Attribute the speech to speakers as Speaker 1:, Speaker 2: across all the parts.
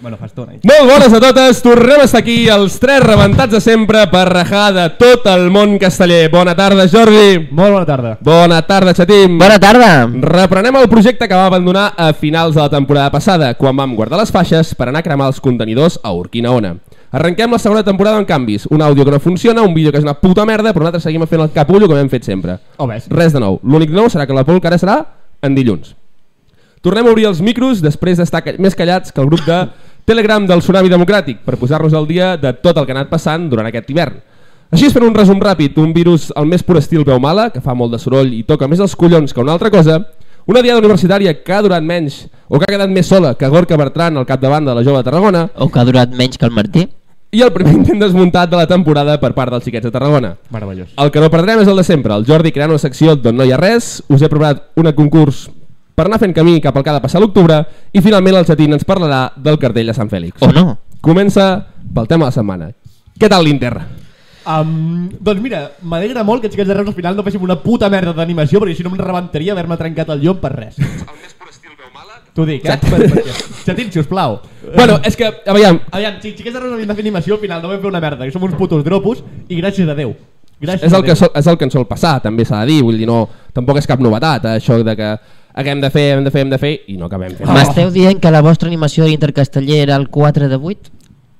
Speaker 1: Bueno, fa estona.
Speaker 2: Molt bones a totes, tornem a estar aquí els tres rebentats de sempre per rajar de tot el món casteller. Bona tarda, Jordi.
Speaker 1: Molt bona tarda.
Speaker 2: Bona tarda, Xatim.
Speaker 3: Bona tarda.
Speaker 2: Reprenem el projecte que va abandonar a finals de la temporada passada, quan vam guardar les faixes per anar a cremar els contenidors a Urquina Ona. Arrenquem la segona temporada amb canvis. Un àudio que no funciona, un vídeo que és una puta merda, però nosaltres seguim fent el capullo com hem fet sempre.
Speaker 1: O ves.
Speaker 2: Res de nou. L'únic nou serà que la polca ara serà en dilluns. Tornem a obrir els micros després d'estar ca- més callats que el grup de Telegram del Tsunami Democràtic per posar-nos al dia de tot el que ha anat passant durant aquest hivern. Així es fer un resum ràpid, un virus al més pur estil veu mala, que fa molt de soroll i toca més els collons que una altra cosa, una diada universitària que ha durat menys o que ha quedat més sola que Gorka Bertran al capdavant de la jove de Tarragona,
Speaker 3: O que ha durat menys que el Martí.
Speaker 2: i el primer intent desmuntat de la temporada per part dels xiquets de Tarragona.
Speaker 1: Meravellós.
Speaker 2: El que no perdrem és el de sempre, el Jordi creant una secció d'on no hi ha res, us he preparat un concurs per anar fent camí cap al que ha de passar a l'octubre i finalment el Xatín ens parlarà del cartell de Sant Fèlix.
Speaker 3: O no.
Speaker 2: Comença pel tema de la setmana. Què tal l'Inter?
Speaker 1: Um, doncs mira, m'alegra molt que els xiquets de Reus al final no féssim una puta merda d'animació, perquè si no em rebentaria haver-me trencat el llom per res. T'ho dic, eh? Per, perquè... Xatín, sisplau.
Speaker 2: Bueno, és que, aviam,
Speaker 1: Aviam, si xiquets de Reus havien de fer animació, al final no vam fer una merda, que som uns putos dropos, i gràcies a Déu. Gràcies
Speaker 2: és el,
Speaker 1: a
Speaker 2: que
Speaker 1: Déu.
Speaker 2: sol, és el que ens sol passar, també s'ha de dir, vull dir, no, tampoc és cap novetat, eh, això de que haguem de fer, hem de fer, hem de fer, i no acabem fent.
Speaker 3: M'esteu dient que la vostra animació d'intercasteller era el 4 de 8?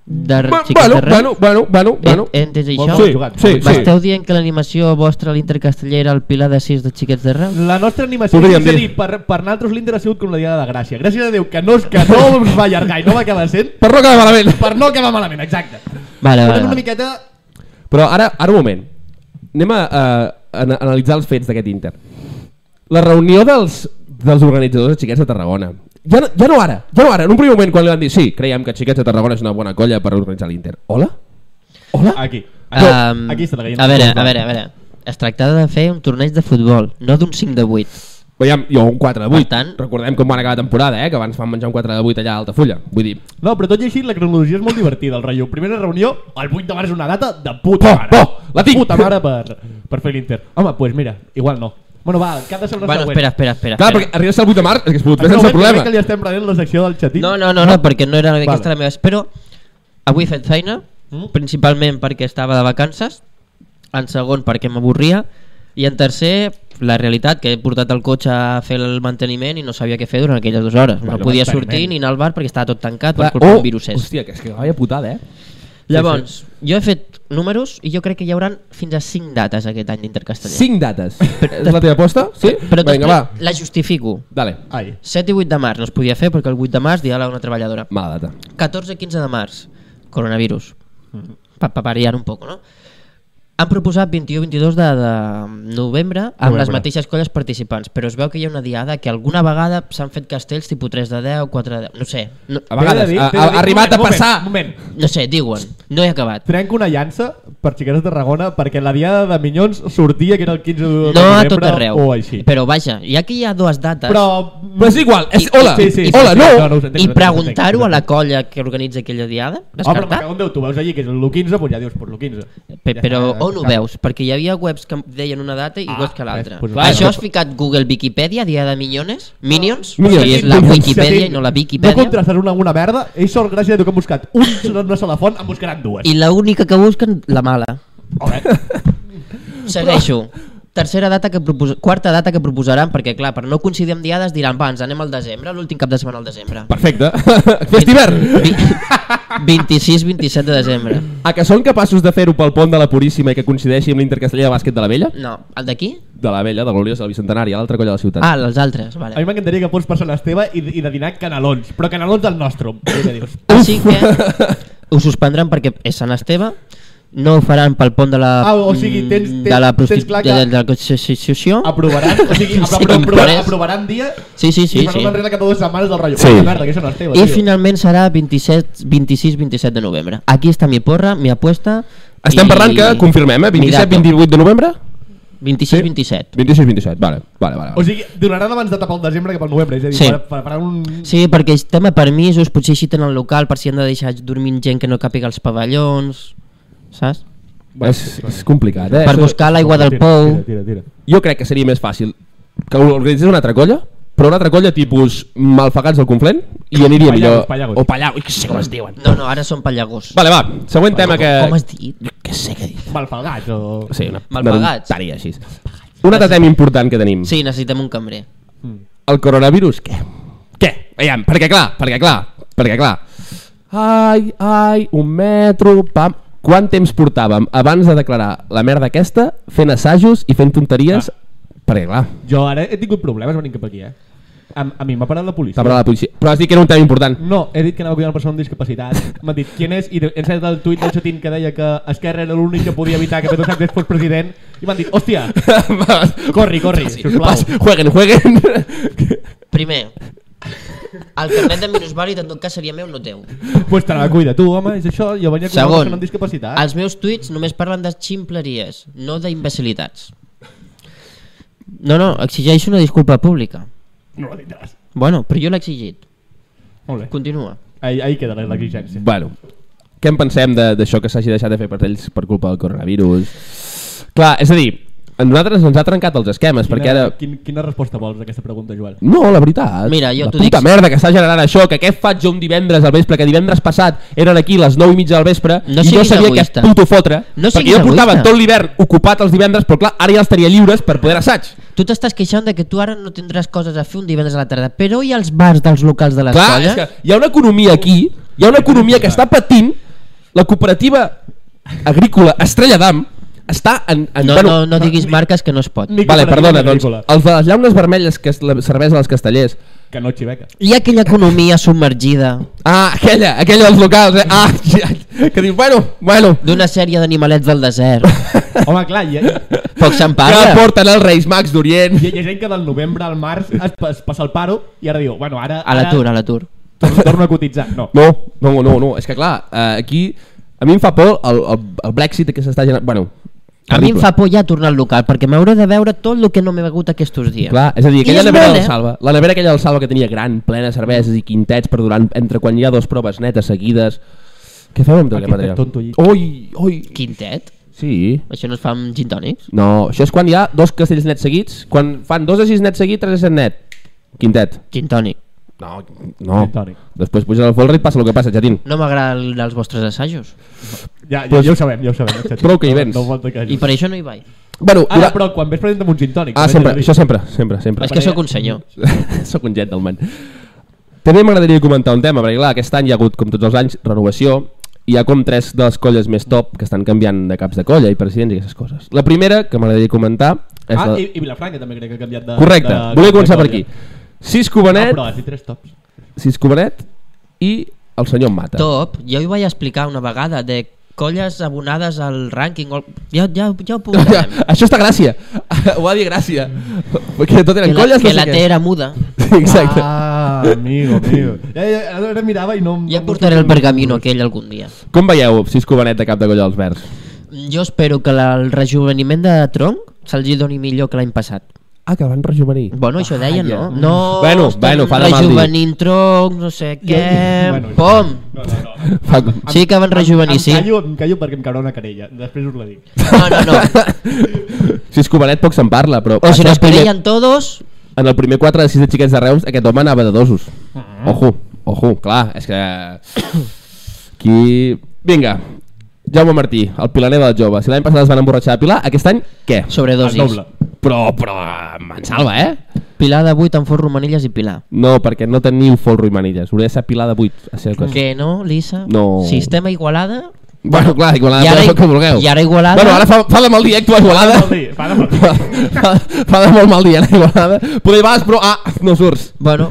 Speaker 3: De
Speaker 2: Bueno,
Speaker 3: Xiquets de
Speaker 2: bueno,
Speaker 3: Reus?
Speaker 2: bueno, bueno, bueno, bueno.
Speaker 3: He, he entès
Speaker 1: Molt
Speaker 3: això?
Speaker 1: bé
Speaker 2: Sí,
Speaker 1: jugat.
Speaker 2: sí, sí.
Speaker 3: M'esteu dient que l'animació vostra a l'intercasteller era el pilar de 6 de Xiquets de Reus?
Speaker 1: La nostra animació,
Speaker 2: Podríem
Speaker 1: és a
Speaker 2: dir.
Speaker 1: dir, per, per nosaltres l'Inter ha sigut com la Diada de Gràcia. Gràcies a Déu que no, que no us va allargar i no va acabar sent,
Speaker 2: Per no acabar malament.
Speaker 1: per no acabar malament, exacte.
Speaker 3: Vale, vale,
Speaker 1: Posem una
Speaker 3: vale.
Speaker 1: miqueta...
Speaker 2: Però ara, ara un moment. Anem a, a, a ana- analitzar els fets d'aquest Inter. La reunió dels, dels organitzadors de Xiquets de Tarragona. Ja no, ja no ara, ja no ara. En un primer moment, quan li van dir sí, creiem que Xiquets de Tarragona és una bona colla per organitzar l'Inter. Hola? Hola?
Speaker 1: Aquí.
Speaker 3: Ehm,
Speaker 1: aquí està la gallina.
Speaker 3: a veure, a veure, a veure. Es tractava de fer un torneig de futbol, no d'un 5 de 8.
Speaker 2: Veiem, jo un 4 de 8.
Speaker 3: Per tant-
Speaker 2: Recordem com van acabar la temporada, eh? que abans van menjar un 4 de 8 allà a Altafulla. Vull dir,
Speaker 1: No, però tot i així la cronologia és molt divertida, el rotllo. Primera reunió, el 8 de març una data de puta
Speaker 2: Oh,
Speaker 1: mare.
Speaker 2: oh, la tinc.
Speaker 1: Puta mare per, per fer l'Inter. Home, doncs pues mira, igual no. Bueno, va, cap de setmana
Speaker 3: Bueno,
Speaker 1: següent.
Speaker 3: espera, espera, espera.
Speaker 2: clar,
Speaker 3: espera.
Speaker 2: perquè arribes al 8 de març, és que es pot fer
Speaker 1: Espera un moment,
Speaker 2: sense
Speaker 1: que crec Que
Speaker 2: problema.
Speaker 1: li estem prenent la secció del xatí.
Speaker 3: No, no, no, no, perquè no era aquesta
Speaker 1: Vale.
Speaker 3: la meva... Però avui he fet feina,
Speaker 1: Mm.
Speaker 3: principalment perquè estava de vacances, en segon perquè m'avorria, i en tercer, la realitat, que he portat el cotxe a fer el manteniment i no sabia què fer durant aquelles dues hores.
Speaker 1: Bueno,
Speaker 3: no podia
Speaker 1: manteniment.
Speaker 3: sortir ni anar al bar perquè estava tot tancat
Speaker 2: Clar,
Speaker 3: per culpa d'un virus. és.
Speaker 2: oh, Hòstia, que és que vaya putada, eh?
Speaker 3: Llavors, jo he fet números i jo crec que hi hauran fins a 5 dates aquest any d'Intercasteller.
Speaker 2: 5 dates. és la teva aposta? Sí?
Speaker 3: Però
Speaker 2: Vinga, va.
Speaker 3: després la justifico.
Speaker 2: Dale.
Speaker 1: Ai,
Speaker 3: 7 i 8 de març no es podia fer perquè el 8 de març diàleg una treballadora.
Speaker 2: Mala data.
Speaker 3: 14 i 15 de març, coronavirus. Mm. Pa, pa variar un poc, no? Han proposat 21 22 de, de novembre amb
Speaker 1: Novembre.
Speaker 3: les mateixes colles participants, però es veu que hi ha una diada que alguna vegada s'han fet castells tipus 3 de 10, 4 de 10, no sé, no,
Speaker 2: A
Speaker 1: T'he
Speaker 2: vegades,
Speaker 1: de dir-
Speaker 2: ha,
Speaker 1: t'he de
Speaker 2: ha,
Speaker 1: dir-
Speaker 2: ha arribat a
Speaker 1: moment,
Speaker 2: passar...
Speaker 1: Moment, moment.
Speaker 3: no sé, diuen, no he acabat.
Speaker 1: Trenco una llança per xiquetes de Tarragona perquè la diada de Minyons sortia que era el 15 de
Speaker 3: No a
Speaker 1: novembre
Speaker 3: tot arreu,
Speaker 1: o així.
Speaker 3: però vaja, ja que hi ha dues dates
Speaker 1: Però...
Speaker 2: Però és igual, és
Speaker 3: I-
Speaker 2: hola,
Speaker 1: Sí, sí, sí,
Speaker 2: hola,
Speaker 1: sí,
Speaker 2: no!
Speaker 1: no, no us entenc, no
Speaker 3: i
Speaker 1: us entenc,
Speaker 3: preguntar-ho
Speaker 1: no us
Speaker 3: a la
Speaker 1: entenc.
Speaker 3: colla que organitza aquella diada,
Speaker 1: Home, però me
Speaker 3: descartat?
Speaker 1: cago en Déu, tu veus allí que és l'1 15, doncs ja dius, pues l'1 15.
Speaker 3: Pe-
Speaker 1: Ja
Speaker 3: però
Speaker 1: està,
Speaker 3: on
Speaker 1: ja
Speaker 3: ho
Speaker 1: està.
Speaker 3: veus? Perquè hi havia webs que deien una data i
Speaker 1: Ah,
Speaker 3: webs que l'altra.
Speaker 1: ves, pues,
Speaker 2: clar,
Speaker 3: Això
Speaker 2: no.
Speaker 3: has ficat Google Wikipedia, dia de Minyones? Minions?
Speaker 2: Minions.
Speaker 3: Que és la
Speaker 2: Minions.
Speaker 3: Wikipedia
Speaker 1: Sí,
Speaker 3: i no la
Speaker 1: No
Speaker 3: Wikipedia.
Speaker 1: contrastes una amb una merda, és sort gràcies a Déu que han buscat un en una sola font, en buscaran dues.
Speaker 3: I l'única que busquen, la mala.
Speaker 1: Home, eh?
Speaker 3: Segueixo. Tercera data que propos... quarta data que proposaran, perquè clar, per no coincidir amb diades diran, va, ens anem al desembre, l'últim cap de setmana al desembre.
Speaker 2: Perfecte. Festiver!
Speaker 3: Vi- 26-27 de desembre.
Speaker 2: A que són capaços de fer-ho pel pont de la Puríssima i que coincideixi amb l'Intercastellà de Bàsquet de la Vella?
Speaker 3: No, el d'aquí?
Speaker 2: De la Vella, de Gloriós, del Bicentenari, a l'altra colla de la
Speaker 1: Doncs.
Speaker 2: ciutat.
Speaker 3: Ah, els altres,
Speaker 1: a mi
Speaker 3: vale.
Speaker 1: m'encantaria que fos per Sant Esteve i, i de dinar canelons, però canelons del nostre. Sí que dius.
Speaker 3: Així que ho suspendran perquè és Sant Esteve, no ho faran pel pont de la...
Speaker 1: Ah, o sigui, tens-
Speaker 3: mm,
Speaker 1: tens-
Speaker 3: de la
Speaker 1: tens clar que-
Speaker 3: prostitució... De, de la constitució...
Speaker 1: Aprovaran, o sigui,
Speaker 3: Sí,
Speaker 1: apro apro aprovaran,
Speaker 3: comprès.
Speaker 1: aprovaran dia
Speaker 3: Sí, sí,
Speaker 1: i
Speaker 3: sí.
Speaker 1: per
Speaker 3: sí.
Speaker 1: no enrere cap a dues setmanes del rotllo.
Speaker 2: Sí.
Speaker 1: Una merda, que això no és teva,
Speaker 3: I
Speaker 1: tio.
Speaker 3: finalment serà 27, 26-27 de novembre. Aquí està mi porra, mi apuesta...
Speaker 2: Estem
Speaker 3: i-
Speaker 2: parlant que confirmem, eh? 27-28 de novembre?
Speaker 3: 26-27.
Speaker 2: 26-27, vale. vale, vale.
Speaker 1: O sigui, donaran abans de tapar el desembre que pel novembre, és a dir,
Speaker 3: Sí.
Speaker 1: sí. faran un...
Speaker 3: Sí, perquè el tema permisos, potser així tenen el local per si han de deixar dormint gent que no càpiga els pavellons, saps?
Speaker 2: Bueno, és, és complicat, eh?
Speaker 3: Per
Speaker 2: Això-
Speaker 3: buscar l'aigua del
Speaker 1: Tira,
Speaker 3: pou...
Speaker 1: Tira, tira, tira.
Speaker 2: Jo crec que seria més fàcil que ho organitzés una altra colla però una altra colla tipus malfegats del Conflent i aniria millor.
Speaker 1: Pallagos, pallagos.
Speaker 2: O Pallau, que sé com es diuen.
Speaker 3: No, no, ara són pallagós.
Speaker 2: Vale, va, següent tema que...
Speaker 3: Com has dit?
Speaker 2: Que sé que...
Speaker 1: Malfalgats o...
Speaker 2: Sí, una,
Speaker 3: Malpagats.
Speaker 2: una tària, així. Un altre tema important que tenim.
Speaker 3: Sí, necessitem un cambrer.
Speaker 2: El coronavirus, què? Què? Aviam, perquè clar, perquè clar, perquè clar. Ai, ai, un metro, pam... Quant temps portàvem abans de declarar la merda aquesta fent assajos i fent tonteries? Ah. Perquè clar,
Speaker 1: Jo ara he tingut problemes venint cap aquí, eh? A, a mi m'ha parat la policia.
Speaker 2: t'ha parlat la policia. Però has dit que era un tema important.
Speaker 1: No, he dit que anava a cuidar una persona amb discapacitat. M'ha dit quin és i he ensenyat el tuit del xatín que deia que Esquerra era l'únic que podia evitar que Pedro Sánchez fos president i m'han dit, hòstia, corri, corri,
Speaker 2: Pas,
Speaker 1: sisplau.
Speaker 2: jueguen, jueguen.
Speaker 3: Primer, el carnet de minusvàlid en tot cas seria meu, no teu.
Speaker 1: Pues te la cuida tu, home, és això, jo venia a cuidar una
Speaker 3: Segon,
Speaker 1: persona amb discapacitat.
Speaker 3: els meus tuits només parlen de ximpleries, no d'imbecilitats. No, no, exigeixo una disculpa pública.
Speaker 1: No ho tindràs.
Speaker 3: Bueno, però jo l'he exigit.
Speaker 1: Molt bé.
Speaker 3: Continua.
Speaker 1: Ahí, ahí queda l'exigència.
Speaker 2: bueno, què en pensem de- d'això que s'hagi deixat de fer per ells per culpa del coronavirus? Clar, és a dir, a nosaltres ens ha trencat els esquemes,
Speaker 1: Quina,
Speaker 2: perquè ara...
Speaker 1: quin, quina resposta vols a aquesta pregunta, Joel?
Speaker 2: No, la veritat.
Speaker 3: Mira, jo
Speaker 2: la
Speaker 3: t'ho
Speaker 2: puta
Speaker 3: dic-
Speaker 2: merda que està generant això, que què faig jo un divendres al vespre, que divendres passat eren aquí les 9 i mitja del vespre
Speaker 3: No
Speaker 2: i no
Speaker 3: siguis
Speaker 2: sabia
Speaker 3: egoista.
Speaker 2: què puto fotre,
Speaker 3: No
Speaker 2: perquè
Speaker 3: siguis
Speaker 2: jo portava
Speaker 3: egoista.
Speaker 2: tot l'hivern ocupat els divendres, però clar, ara ja els tenia lliures per poder assaig.
Speaker 3: Tu t'estàs queixant de que tu ara no tindràs coses a fer un divendres a la tarda, però i els bars dels locals de les
Speaker 2: Clar, és
Speaker 3: colles?
Speaker 2: que hi ha una economia aquí, hi ha una economia que està patint, la cooperativa agrícola Estrella d'Am està en... en
Speaker 3: No,
Speaker 2: eh, bueno,
Speaker 3: no, no diguis marques que no es pot.
Speaker 1: Ni
Speaker 2: Vale,
Speaker 1: cooperativa
Speaker 2: perdona,
Speaker 1: ni
Speaker 2: doncs,
Speaker 1: agrícola.
Speaker 2: els de les llaunes vermelles, que és la cervesa dels castellers,
Speaker 1: Que no xiveca.
Speaker 3: Hi ha aquella economia submergida
Speaker 2: Ah, aquella, aquella dels locals, eh? Ah, ja, que dius, bueno, bueno,
Speaker 3: d'una sèrie d'animalets del desert.
Speaker 1: Home, clar, hi ha,
Speaker 3: Poc se'n
Speaker 2: ja
Speaker 3: parla.
Speaker 2: porten els Reis Mags d'Orient.
Speaker 1: hi ha- hi ha gent que del novembre al març es, pa- es passa el paro i ara diu, bueno, ara...
Speaker 3: A l'atur, a l'atur.
Speaker 1: Torno, torno a cotitzar. No.
Speaker 2: No, no, no, no, és que clar, eh, aquí a mi em fa por el, el, el Brexit que s'està generant, bueno,
Speaker 3: A mi em
Speaker 2: terrible.
Speaker 3: fa por ja tornar al local, perquè m'hauré de veure tot el que no m'he begut aquests dies.
Speaker 2: Clar, és a dir,
Speaker 3: I
Speaker 2: aquella
Speaker 3: és
Speaker 2: nevera
Speaker 3: molt,
Speaker 2: del
Speaker 3: eh?
Speaker 2: Salva, la nevera aquella del Salva que tenia gran, plena de cerveses i quintets per durant, entre quan hi ha dos proves netes seguides, què fem amb tot aquest
Speaker 1: Aquest
Speaker 2: material?
Speaker 1: tonto allí.
Speaker 2: Oi, oi,
Speaker 3: Quintet?
Speaker 2: sí,
Speaker 3: Això no es fa amb gin tònics?
Speaker 2: no, això és quan hi ha dos castells nets seguits, quan fan dos de sis nets seguits, tres de set net, quintet.
Speaker 3: Gin tònic.
Speaker 2: No, no.
Speaker 1: Gin tònic.
Speaker 2: Després puja el folre i passa el que passa, Jatín.
Speaker 3: No m'agraden els vostres assajos.
Speaker 1: Ja, ja, ja ho sabem, ja ho sabem. etcètera.
Speaker 2: Prou que
Speaker 1: No-
Speaker 2: hi vens.
Speaker 1: No, falta que...
Speaker 3: I per això no hi vaig.
Speaker 2: Bueno,
Speaker 1: Ara, però quan ves presentem un gin tònic.
Speaker 2: Ah,
Speaker 1: també
Speaker 2: sempre,
Speaker 1: t'he de dir.
Speaker 2: això sempre, sempre, sempre.
Speaker 3: És que sóc un senyor.
Speaker 2: Sóc un jet del man. També m'agradaria comentar un tema, perquè clar, aquest any hi ha hagut, com tots els anys, renovació. Hi ha com tres de les colles més top que estan canviant de caps de colla i presidents i aquestes coses. La primera, que m'agradaria comentar... És
Speaker 1: Ah,
Speaker 2: la...
Speaker 1: i, i Vilafranca també crec que ha canviat de...
Speaker 2: Correcte,
Speaker 1: de,
Speaker 2: volia
Speaker 1: de
Speaker 2: començar per aquí.
Speaker 1: colla.
Speaker 2: Sis
Speaker 1: Ah,
Speaker 2: Cubanet,
Speaker 1: però has dit tres tops.
Speaker 2: Sis Cubanet i el senyor Mata.
Speaker 3: Top, ja ho vaig explicar una vegada, de colles abonades al rànquing. o- Ja, ja, ja ho
Speaker 2: Ja,
Speaker 3: publicarem.
Speaker 2: això està gràcia. Ho va dir gràcia. Perquè tot
Speaker 3: Que
Speaker 2: eren
Speaker 3: la,
Speaker 2: colles...
Speaker 3: que
Speaker 2: no
Speaker 3: la
Speaker 2: sé
Speaker 3: T era muda.
Speaker 2: què. Exacte.
Speaker 1: Ah, amigo, amigo. Ja, ja, ara mirava i no...
Speaker 3: Ja
Speaker 1: no-
Speaker 3: portaré el pergamino aquell algun dia.
Speaker 2: Com veieu, Sis Cubanet de cap de colla dels verds?
Speaker 3: Jo espero que la, el rejuveniment de tronc se'ls hi doni millor que l'any passat.
Speaker 2: Ah, que van rejuvenir.
Speaker 3: Bueno, això deien, no?
Speaker 2: ja.
Speaker 3: No,
Speaker 2: Mm. Bueno,
Speaker 3: estem
Speaker 2: bueno, fa de mal dir.
Speaker 3: rejuvenint troncs, no sé què...
Speaker 1: Bueno,
Speaker 3: Pom!
Speaker 1: No, no, no.
Speaker 2: Fa...
Speaker 3: Sí que van rejuvenir,
Speaker 1: em,
Speaker 3: sí.
Speaker 1: callo, em callo perquè em caurà una querella. Després us la dic.
Speaker 3: No, no, no.
Speaker 2: Si és Cubanet poc se'n parla, però...
Speaker 3: Però si
Speaker 2: això
Speaker 3: nos
Speaker 2: és primer-
Speaker 3: creien todos...
Speaker 2: En el primer 4 de 6 de xiquets de Reus, aquest home anava de dosos.
Speaker 3: Ah.
Speaker 2: Ojo, ojo, clar, és que... Aquí... Vinga, Jaume Martí, el pilaner del jove. Si l'any passat es van emborratxar a Pilar, aquest any, què?
Speaker 1: El
Speaker 3: Sobredosis.
Speaker 1: Ah, doble.
Speaker 2: Però, però, me'n salva, eh?
Speaker 3: Pilar de 8 en Fort Romanilles i Pilar.
Speaker 2: No, perquè no teniu folro i manilles. Hauria de ser Pilar de 8, a ser el cas.
Speaker 3: Que no, Lisa?
Speaker 2: No.
Speaker 3: Sistema Igualada?
Speaker 2: Bueno, clar, Igualada,
Speaker 3: I ara-
Speaker 2: podeu fer el que vulgueu.
Speaker 3: i ara Igualada-
Speaker 2: Bueno, ara fa, fa de mal dia actuar a Igualada.
Speaker 1: Vol dir, para, para.
Speaker 2: fa, fa- fa de molt mal dia, eh, Igualada. Poder vas, però ah, no surts.
Speaker 3: Bueno,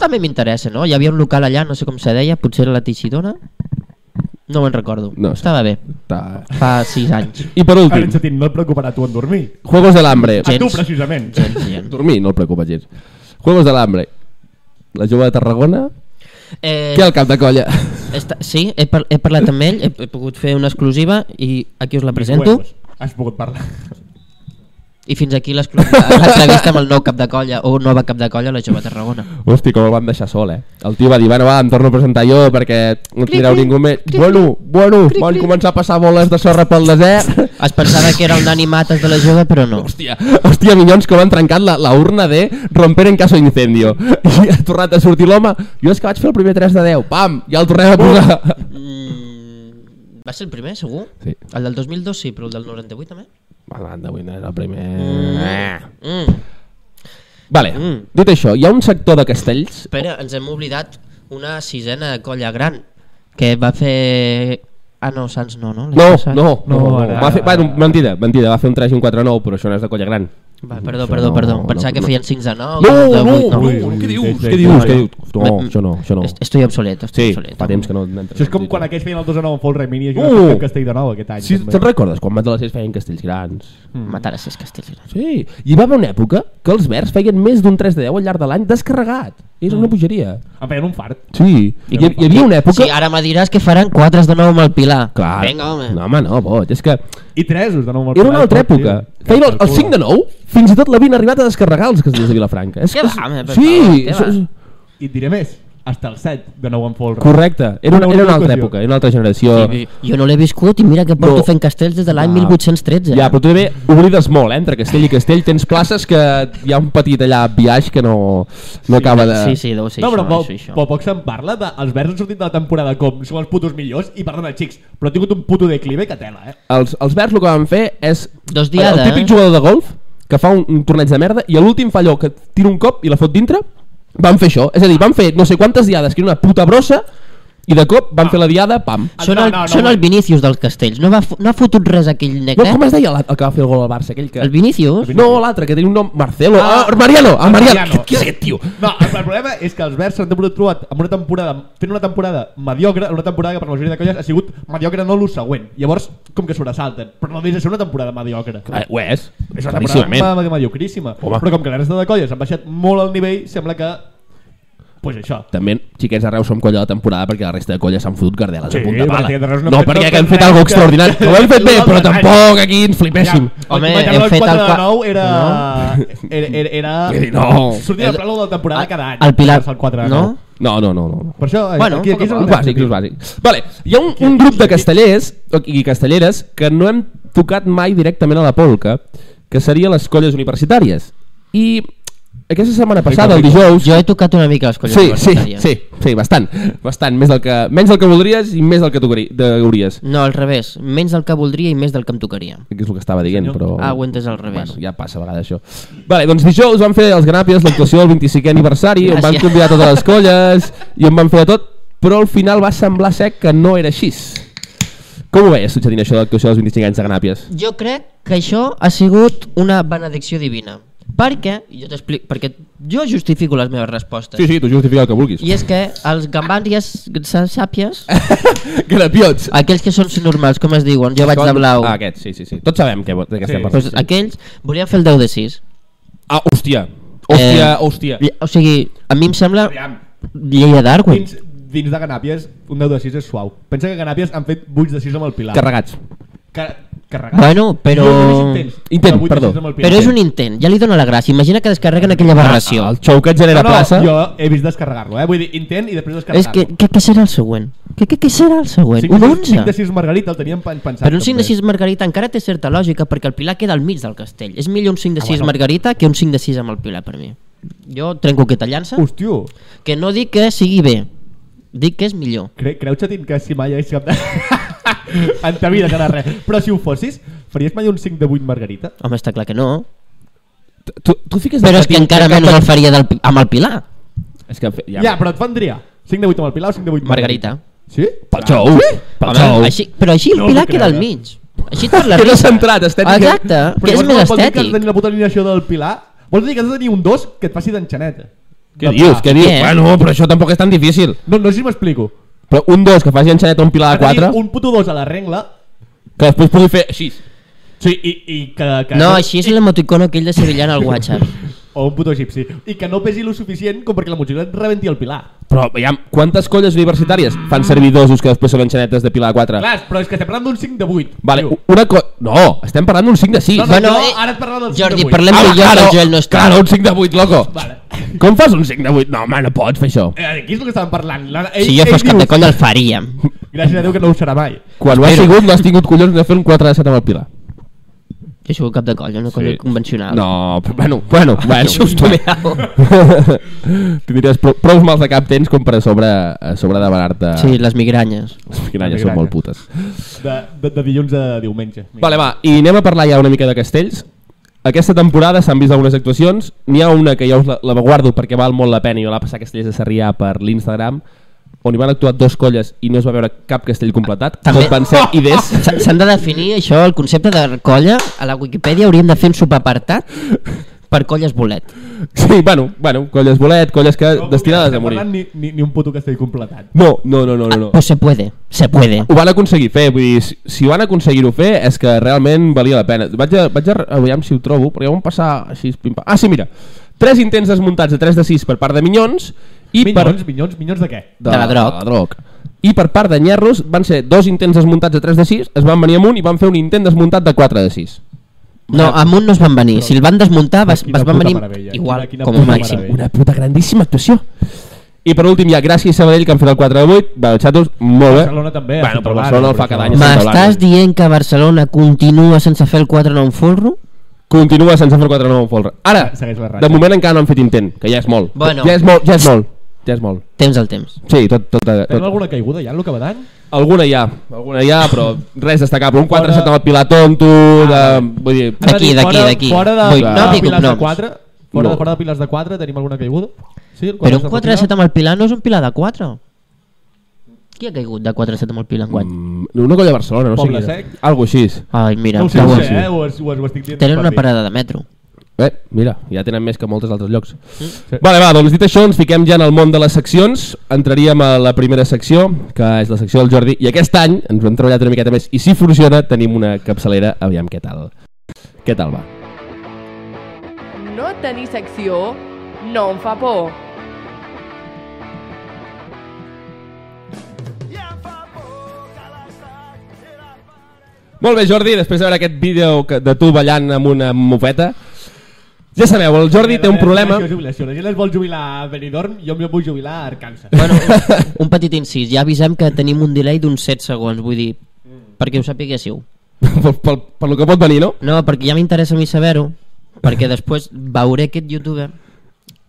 Speaker 3: també m'interessa, no? Hi havia un local allà, no sé com se deia, potser era la Teixidona? No me'n recordo.
Speaker 2: No sé.
Speaker 3: Estava bé,
Speaker 2: Ta.
Speaker 3: fa 6 anys.
Speaker 2: I per
Speaker 1: Ara,
Speaker 2: últim,
Speaker 1: Xatín, no et preocuparà tu en dormir.
Speaker 2: Juegos de l'Hambre.
Speaker 1: A tu,
Speaker 3: Gens.
Speaker 1: precisament.
Speaker 2: Dormir no el preocupa gens. Juegos de l'Hambre. La jove de Tarragona,
Speaker 3: Eh,
Speaker 2: eh. què al cap de colla?
Speaker 3: Està, sí, he, par he parlat amb ell, he, he pogut fer una exclusiva i aquí us la presento.
Speaker 1: Huevos. Has pogut parlar.
Speaker 3: I I fins aquí les cro- l'entrevista amb el nou cap de colla, o nova cap de colla, la jove Tarragona.
Speaker 2: Hosti, com el van deixar sol, eh? El tio va dir, bueno, va, em torno a presentar jo perquè no tireu ningú més. Bueno, bueno, van començar a passar boles de sorra pel desert.
Speaker 3: Es pensava que era el Dani Mates de la jove, però no.
Speaker 2: Hòstia, hòstia, minyons, com han trencat la, la urna de romper en caso d'incendio. I ha tornat a sortir l'home. Jo és que vaig fer el primer 3 de 10. Pam, ja el tornem a posar.
Speaker 3: Mm, va ser el primer, segur?
Speaker 2: Sí.
Speaker 3: El del 2002 sí, però el del 98 també?
Speaker 2: Banda, avui no era el primer... Ah.
Speaker 3: Mm.
Speaker 2: Vale,
Speaker 3: Mm.
Speaker 2: dit això, hi ha un sector de castells...
Speaker 3: Espera, ens hem oblidat una sisena colla gran que va fer... Ah, no, Sants no, no? L'any
Speaker 2: No,
Speaker 3: passat.
Speaker 2: no, no,
Speaker 1: No,
Speaker 2: no.
Speaker 1: ara-
Speaker 2: Va fer, bueno, mentida, mentida, va fer un 3 i un 4 9, però això no és de colla gran.
Speaker 3: Va, perdó,
Speaker 2: Això
Speaker 3: perdó,
Speaker 2: no,
Speaker 3: perdó.
Speaker 2: no,
Speaker 3: Pensava
Speaker 2: no.
Speaker 3: que feien 5 de 9,
Speaker 2: No,
Speaker 3: de
Speaker 2: no,
Speaker 3: 8, no.
Speaker 2: ui,
Speaker 1: ui, sí,
Speaker 2: què dius?
Speaker 1: sí,
Speaker 2: Què
Speaker 1: sí,
Speaker 2: dius?
Speaker 1: sí.
Speaker 2: Què dius? No, Mm. això no, això no.
Speaker 3: Est- Estoy obsolet, estoy
Speaker 2: Sí,
Speaker 3: obsolet.
Speaker 2: fa temps que no... n'entra-
Speaker 1: Això és com quan aquells feien el 2 a 9 en Fall Rey Mini i jo
Speaker 2: Uh!
Speaker 1: uh! Castell de Nou aquest any.
Speaker 2: Sí,
Speaker 1: també.
Speaker 2: te'n recordes quan Mat de les Sis feien castells grans?
Speaker 3: Mm. Matar a Cesc Castellgrans.
Speaker 2: Sí, i va haver una època que els verds feien més d'un 3 de 10 al llarg de l'any descarregat. És una bogeria.
Speaker 1: Em feien un fart.
Speaker 2: Sí, I hi, hi havia una època...
Speaker 3: Mm. Sí, ara me diràs que faran 4 de 9 amb el Pilar.
Speaker 2: Clar,
Speaker 3: Vinga, home.
Speaker 2: no, home, no, boig. És que
Speaker 1: I tresos de nou amb el
Speaker 2: era una altra
Speaker 1: Pilar,
Speaker 2: època.
Speaker 1: sí.
Speaker 2: Feien el, el 5 de 9, fins i tot l'havien arribat a descarregar els castells de Vilafranca. És,
Speaker 3: Què
Speaker 2: és,
Speaker 3: va, home, per
Speaker 2: sí,
Speaker 3: favor, què
Speaker 2: és, és,
Speaker 3: va?
Speaker 1: I et diré més, hasta el 7 de nou en Fall Rey.
Speaker 2: correcte. Era una, era una altra època, era una altra generació.
Speaker 3: Sí, jo no l'he viscut i mira que porto
Speaker 2: No.
Speaker 3: fent castells des de l'any
Speaker 2: Ah.
Speaker 3: 1813.
Speaker 2: Ja, però tu també oblides molt, eh? Entre castell i castell tens places que hi ha un petit allà viatge que no, no acaba de...
Speaker 3: Sí, sí, deu ser
Speaker 1: no, però
Speaker 3: això,
Speaker 1: poc,
Speaker 3: això, això.
Speaker 1: poc, poc se'n parla de, els verds han sortit de la temporada com som els putos millors i perdona xics, però ha tingut un puto declive que tela, eh?
Speaker 2: Els, els verds el que van fer és...
Speaker 3: Dos diada,
Speaker 2: El típic
Speaker 3: eh?
Speaker 2: jugador de golf que fa un, un torneig de merda i a l'últim fa allò que tira un cop i la fot dintre, van fer això. És a dir, van fer no sé quantes diades, que era una puta brossa, i de cop van fer la diada, pam.
Speaker 3: Són,
Speaker 1: No,
Speaker 3: el,
Speaker 1: no, no,
Speaker 3: són
Speaker 1: no.
Speaker 3: el Vinícius dels castells. No, va, fo- no ha fotut res aquell nec,
Speaker 2: No,
Speaker 3: eh?
Speaker 2: com es deia la- el que va fer el gol al Barça? Aquell que...
Speaker 3: El Vinícius?
Speaker 2: No, l'altre, que tenia un nom... Marcelo. Ah,
Speaker 1: Ah,
Speaker 2: Mariano. Ah,
Speaker 1: el
Speaker 2: Mariano.
Speaker 1: Mariano.
Speaker 2: Qui és aquest tio?
Speaker 1: No, el, el problema és que els verds s'han trobat amb una temporada, fent una temporada mediocre, una temporada que per la majoria de colles ha sigut mediocre no lo següent. Llavors, com que sobresalten, però no deixa de ser una temporada mediocre.
Speaker 2: Eh, ho és.
Speaker 1: És una
Speaker 2: claríssimament.
Speaker 1: temporada ma- mediocríssima.
Speaker 2: Home.
Speaker 1: Però com que la resta de colles han baixat molt el nivell, sembla que... Pues això.
Speaker 2: també xiquets d'arreu som colla de temporada perquè la resta de colles s'han fotut gardeles
Speaker 1: Sí,
Speaker 2: a punta
Speaker 1: perquè de
Speaker 2: pala.
Speaker 1: res no
Speaker 2: No,
Speaker 1: hem fet
Speaker 2: perquè
Speaker 1: tot
Speaker 2: que hem fet
Speaker 1: res
Speaker 2: alguna
Speaker 1: que-
Speaker 2: extraordinària. Ho hem fet bé,
Speaker 1: No,
Speaker 2: però
Speaker 1: no,
Speaker 2: tampoc aquí ens flipéssim.
Speaker 3: Home,
Speaker 1: el
Speaker 3: heu fet el
Speaker 1: de
Speaker 3: qua-
Speaker 1: 9 era... Era... era,
Speaker 2: Vull
Speaker 1: era
Speaker 2: dir, no.
Speaker 1: Sortir de plano de la temporada cada any.
Speaker 3: El Pilar...
Speaker 1: El 4 de
Speaker 3: No?
Speaker 1: 9.
Speaker 2: No, no, no, no.
Speaker 1: Per això, eh,
Speaker 3: Bueno,
Speaker 1: aquí, aquí és
Speaker 2: Els
Speaker 1: on...
Speaker 2: bàsics, els bàsics. Vale, hi ha un, un grup de castellers o- i castelleres que no hem tocat mai directament a la polca, que seria les colles universitàries. I aquesta setmana passada, el dijous...
Speaker 3: Jo he tocat una mica les colles
Speaker 2: Sí, sí,
Speaker 3: universitàries.
Speaker 2: sí, sí, bastant, bastant, més del que, menys del que voldries i més del que tu gri- de- hauries.
Speaker 3: No, al revés. Menys del que voldria i més del que em tocaria.
Speaker 2: que és el que estava dient, però...
Speaker 3: Ah, ho he entès al revés.
Speaker 2: Bueno, ja passa a vegades això. Vale, doncs dijous van fer els Ganàpies l'actuació del 25è aniversari, on van
Speaker 3: Gràcies.
Speaker 2: convidar totes les colles i on van fer de tot, però al final va semblar sec que no era així. Com ho veies, Sutxatín, això de l'actuació dels 25 anys de Ganàpies?
Speaker 3: Jo crec que això ha sigut una benedicció divina. Perquè, jo t'explico, perquè jo justifico les meves respostes.
Speaker 2: Sí, sí, tu justifica el que vulguis.
Speaker 3: I és que els gambans i els sàpies,
Speaker 2: Ganàpiots!
Speaker 3: aquells que són normals, com es diuen, Ah, jo vaig de blau,
Speaker 2: Ah, aquest, sí, sí, sí. Tots sabem que, de què estem
Speaker 1: Sí.
Speaker 2: parlant.
Speaker 3: doncs aquells volien fer el 10 de 6.
Speaker 2: Ah, hòstia. Hòstia,
Speaker 3: Eh,
Speaker 2: hòstia.
Speaker 3: I- O sigui, a mi em sembla
Speaker 1: Aviam.
Speaker 3: llei de Darwin.
Speaker 1: Dins, dins de Ganàpies, un 10 de 6 és suau. Pensa que Ganàpies han fet 8 de 6 amb el Pilar.
Speaker 2: Carregats.
Speaker 1: Car carregat.
Speaker 3: Bueno, però...
Speaker 2: Intent,
Speaker 1: Vuit de
Speaker 2: perdó.
Speaker 1: sis amb el Pilar.
Speaker 3: Però és un intent, ja li dóna la gràcia. Imagina que descarreguen aquella aberració.
Speaker 2: Ah, El xou que et genera
Speaker 1: no, no,
Speaker 2: plaça...
Speaker 1: jo he vist descarregar-lo, eh? Vull dir, intent i
Speaker 2: ah,
Speaker 1: després
Speaker 3: És
Speaker 1: descarregar-lo.
Speaker 3: que, què, què serà el següent? Què, què, què serà el següent?
Speaker 1: de
Speaker 3: Un
Speaker 1: sis-
Speaker 3: 11?
Speaker 1: 5 de 6 Margarita el teníem pen- pensat.
Speaker 3: Però un 5 de
Speaker 1: també.
Speaker 3: 6 Margarita encara té certa lògica perquè el Pilar queda al mig del castell. És millor un 5 de 6 Margarita que un 5 de 6 amb el Pilar per mi. Jo trenco aquesta llança,
Speaker 1: Hòstia,
Speaker 3: que no dic que sigui bé, dic que és millor.
Speaker 1: cre creu, Xatín, que si mai hagués cap de... en ta vida serà res. Però si ho fossis, faries mai un 5 de 8 Margarita?
Speaker 3: Home, està clar que no.
Speaker 2: Tu, tu fiques de
Speaker 3: Però és que
Speaker 2: Chatín
Speaker 3: encara
Speaker 2: cap
Speaker 3: menys
Speaker 2: a-
Speaker 3: el faria del, Pi- amb el Pilar.
Speaker 2: És que... fe-
Speaker 1: Ja, però et vendria. 5 de 8 amb el Pilar o 5 de 8
Speaker 3: Margarita.
Speaker 1: Sí?
Speaker 2: Pel xou! Pel xou!
Speaker 3: Home, així, però així el
Speaker 1: No
Speaker 3: Pilar
Speaker 1: m'ho
Speaker 3: queda al
Speaker 1: crec, eh?
Speaker 3: mig. Així et parla
Speaker 2: Que no
Speaker 3: rica.
Speaker 2: s'ha entrat, estèticament.
Speaker 3: Exacte, que és
Speaker 1: llavors
Speaker 3: més
Speaker 1: vol dir que has de
Speaker 3: estètic.
Speaker 1: tenir la puta alineació del Pilar? Vols dir que has de tenir un 2 que et faci d'enxaneta?
Speaker 2: Què dius? Què dius?
Speaker 3: Què?
Speaker 2: Bueno, però això tampoc és tan difícil.
Speaker 1: No, no sé si m'explico.
Speaker 2: Però un 2 que faci enxaneta un pilar
Speaker 1: Ha
Speaker 2: de 4,
Speaker 1: tenir un puto 2 a la regla
Speaker 2: que després pugui fer així.
Speaker 1: Sí, i, i que, que
Speaker 3: No, així és l'emoticono aquell de Sevillana al WhatsApp.
Speaker 1: o un puto egipci, i que no pesi lo suficient com perquè la motxilla et rebenti el pilar.
Speaker 2: Però, veiem, quantes colles universitàries fan servir dosos que després són enxanetes de pilar 4?
Speaker 1: Clar, però és que estem parlant d'un 5 de 8.
Speaker 2: Ah. Vale, una co... No, estem parlant d'un 5 de 6.
Speaker 1: No, no,
Speaker 3: Bueno,
Speaker 1: no,
Speaker 3: eh,
Speaker 1: ara et parlo del 5
Speaker 3: Jordi,
Speaker 1: de 8.
Speaker 3: parlem
Speaker 2: Ah,
Speaker 3: millor que
Speaker 2: claro,
Speaker 3: el Joel no està.
Speaker 2: Claro, un 5 de 8, loco.
Speaker 1: Vale.
Speaker 2: Com fas un 5 de 8? No, home, no pots fer això.
Speaker 1: Eh, Aquí és el que estàvem parlant. La- Ell,
Speaker 3: Si jo fos
Speaker 1: ell
Speaker 3: cap
Speaker 1: diu-
Speaker 3: de colla el faríem.
Speaker 1: Gràcies a Déu que no ho serà mai.
Speaker 2: Quan ho has sigut, no has tingut collons de fer un 4 de 7 amb el Pilar.
Speaker 3: Jo soc cap de colla, una colla
Speaker 2: Sí.
Speaker 3: convencional.
Speaker 2: No, però bueno, bueno,
Speaker 3: Ah,
Speaker 2: bueno.
Speaker 3: Justo me hago.
Speaker 2: Tindries prou, prous mals de cap tens com per a sobre, a sobre demanar-te...
Speaker 3: Sí, les migranyes.
Speaker 2: Quinalles són molt putes.
Speaker 1: De, de, de dilluns a diumenge.
Speaker 2: Vale, va, i anem a parlar ja una mica de castells. Aquesta temporada s'han vist algunes actuacions. N'hi ha una que ja us la, la guardo perquè val molt la pena i me la va passar a Castellers de Sarrià per l'Instagram, on hi van actuar dos colles i no es va veure cap castell completat.
Speaker 3: També-
Speaker 2: Tot van ser idees.
Speaker 3: S- S'han de definir això, el concepte de colla. A la Wikipedia hauríem de fer un subapartat per colles bolet.
Speaker 2: Sí, bueno, bueno, colles bolet, colles que
Speaker 1: No,
Speaker 2: destinades a
Speaker 1: estem parlant
Speaker 2: morir.
Speaker 1: Ni, ni, ni un puto castell completat.
Speaker 2: No, no, no, no, no. no.
Speaker 3: Pues se puede, se puede.
Speaker 2: Ho van aconseguir fer, vull dir, si- si van aconseguir-ho fer és que realment valia la pena. Vaig a, vaig a, a veure si ho trobo, perquè vam passar així... Pim, pam. ah, sí, mira, tres intents desmuntats de 3 de 6 per part de Minyons i
Speaker 1: Minyons,
Speaker 2: per...
Speaker 1: minyons, minyons de què?
Speaker 3: De la Droc.
Speaker 2: De la droc. I per part de Nyerros van ser dos intents desmuntats de 3 de 6, es van venir amunt i van fer un intent desmuntat de 4 de 6.
Speaker 3: No, amunt no es van venir. Si el van desmuntar, vas,
Speaker 1: Quina
Speaker 3: vas van
Speaker 1: puta
Speaker 3: venir
Speaker 1: meravella,
Speaker 3: igual,
Speaker 1: quina- quina
Speaker 3: com a
Speaker 1: puta
Speaker 3: màxim.
Speaker 1: meravella.
Speaker 2: Una puta grandíssima actuació. I per últim hi ha Gràcia i Sabadell que han fet el 4 de 8, bueno, xatos, molt bé.
Speaker 1: Barcelona també, a tota
Speaker 2: Bueno,
Speaker 1: Santa
Speaker 2: però
Speaker 1: Eulàlia,
Speaker 2: Barcelona el
Speaker 1: per
Speaker 2: fa cada
Speaker 1: això.
Speaker 2: any. a Santa Eulàlia.
Speaker 1: eh?
Speaker 3: M'estàs dient que Barcelona continua sense fer el 4 en un forro?
Speaker 2: Continua sense fer 4 9 folre. Ara,
Speaker 1: Segueix la ratxa.
Speaker 2: de moment encara no han fet intent, que ja és molt.
Speaker 3: Bueno.
Speaker 2: Ja és molt, ja és molt. Ja és molt.
Speaker 3: Temps al temps.
Speaker 2: Sí, tot, tot, eh, tot,
Speaker 1: Tenim alguna caiguda ja en lo que va d'any?
Speaker 2: Alguna hi ha, alguna hi ha, però res destacable. Un 4 7 amb el Pilar Tonto, de... vull dir...
Speaker 1: Ara
Speaker 3: D'aquí,
Speaker 1: dic,
Speaker 3: d'aquí,
Speaker 1: fora-
Speaker 3: d'aquí.
Speaker 1: Fora de,
Speaker 3: Vull-
Speaker 1: fora
Speaker 2: no
Speaker 1: de
Speaker 3: dic
Speaker 1: pilars de
Speaker 3: cognoms.
Speaker 1: 4, fora,
Speaker 2: No.
Speaker 1: de, fora de pilars de 4 tenim alguna caiguda? Sí, el
Speaker 3: Però
Speaker 1: de
Speaker 3: un 4 de
Speaker 1: Pilar.
Speaker 3: 7 amb el Pilar no és un Pilar de 4? Qui ha caigut de 4 de 7 amb el Pilar en guany?
Speaker 2: Mm, Una colla de Barcelona, no sé
Speaker 1: Poble
Speaker 2: qui era.
Speaker 1: sec.
Speaker 2: Algo així.
Speaker 3: Ai, mira,
Speaker 1: No ho sé,
Speaker 3: que
Speaker 1: no ho
Speaker 3: bo.
Speaker 1: sé, eh? Ho, es- ho, es- ho estic dient.
Speaker 3: tenen
Speaker 1: per
Speaker 3: una
Speaker 1: dir.
Speaker 3: parada de metro.
Speaker 2: Bé, Eh, mira, ja tenen més que moltes altres llocs. Vale, va, doncs dit això, ens fiquem ja en el món de les seccions. Entraríem a la primera secció, que és la secció del Jordi, i aquest any ens ho hem treballat una miqueta més, i si funciona, tenim una capçalera, aviam què tal. Què tal va?
Speaker 4: No tenir secció no em fa por.
Speaker 2: Molt bé, Jordi, després de veure aquest vídeo que- de tu ballant amb una mofeta, ja sabeu, el Jordi té un
Speaker 1: eh?
Speaker 2: problema...
Speaker 1: Jubilació, jubilació. La gent es vol jubilar a Benidorm, jo em vull jubilar a Arkansas.
Speaker 3: Bueno, un- un petit incís, ja avisem que tenim un delay d'uns 7 segons, vull dir, perquè ho sapiguéssiu.
Speaker 2: pel, pel, per lo que pot venir, no?
Speaker 3: No, perquè ja m'interessa a mi saber-ho, perquè després veuré aquest youtuber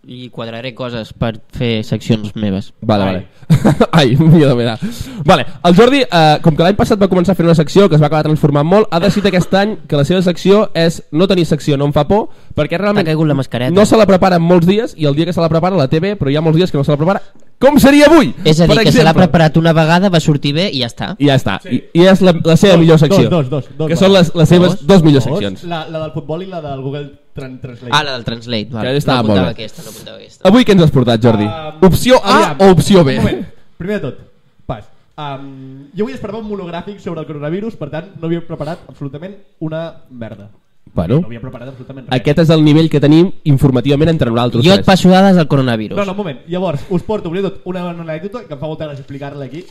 Speaker 3: i quadraré coses per fer seccions meves.
Speaker 2: Vale, vale. Ai, millor de mirar. Vale, el Jordi, eh, com que l'any passat va començar fent una secció que es va acabar transformant molt, ha decidit aquest any que la seva secció és no tenir secció, no em fa por, perquè
Speaker 3: T'ha
Speaker 2: realment
Speaker 3: caigut la mascareta.
Speaker 2: no se la prepara en molts dies i el dia que se la prepara la TV, però hi ha molts dies que no se la prepara. Com seria avui?
Speaker 3: És a dir,
Speaker 2: per
Speaker 3: que se l'ha
Speaker 2: exemple?
Speaker 3: preparat una vegada, va sortir bé i ja està.
Speaker 2: I ja està. I, i és la, la seva
Speaker 1: Dos,
Speaker 2: millor secció.
Speaker 1: dos, dos, dos,
Speaker 2: que
Speaker 1: va.
Speaker 2: són les, les seves dos,
Speaker 3: Dos,
Speaker 2: millors
Speaker 1: Dos,
Speaker 2: seccions.
Speaker 1: La, la del futbol i la del Google Tran- Translate.
Speaker 3: Ah, la del Translate, vale.
Speaker 2: Ja estava
Speaker 3: no apuntava
Speaker 2: molt bé.
Speaker 3: aquesta, no apuntava aquesta.
Speaker 2: Avui què ens has portat, Jordi?
Speaker 1: Um,
Speaker 2: opció A
Speaker 1: aviam.
Speaker 2: o opció B?
Speaker 1: Un moment. Primer de tot, pas. Um, jo vull esperar un monogràfic sobre el coronavirus, per tant, no havia preparat absolutament una merda.
Speaker 2: Bueno,
Speaker 1: No havia preparat absolutament res.
Speaker 2: aquest és el nivell que tenim informativament entre nosaltres.
Speaker 3: Jo et
Speaker 2: tres.
Speaker 3: passo dades del coronavirus.
Speaker 1: No, no, un moment. Llavors, us porto, primer de tot, una, una anècdota que em fa molta gràcia explicar-la aquí.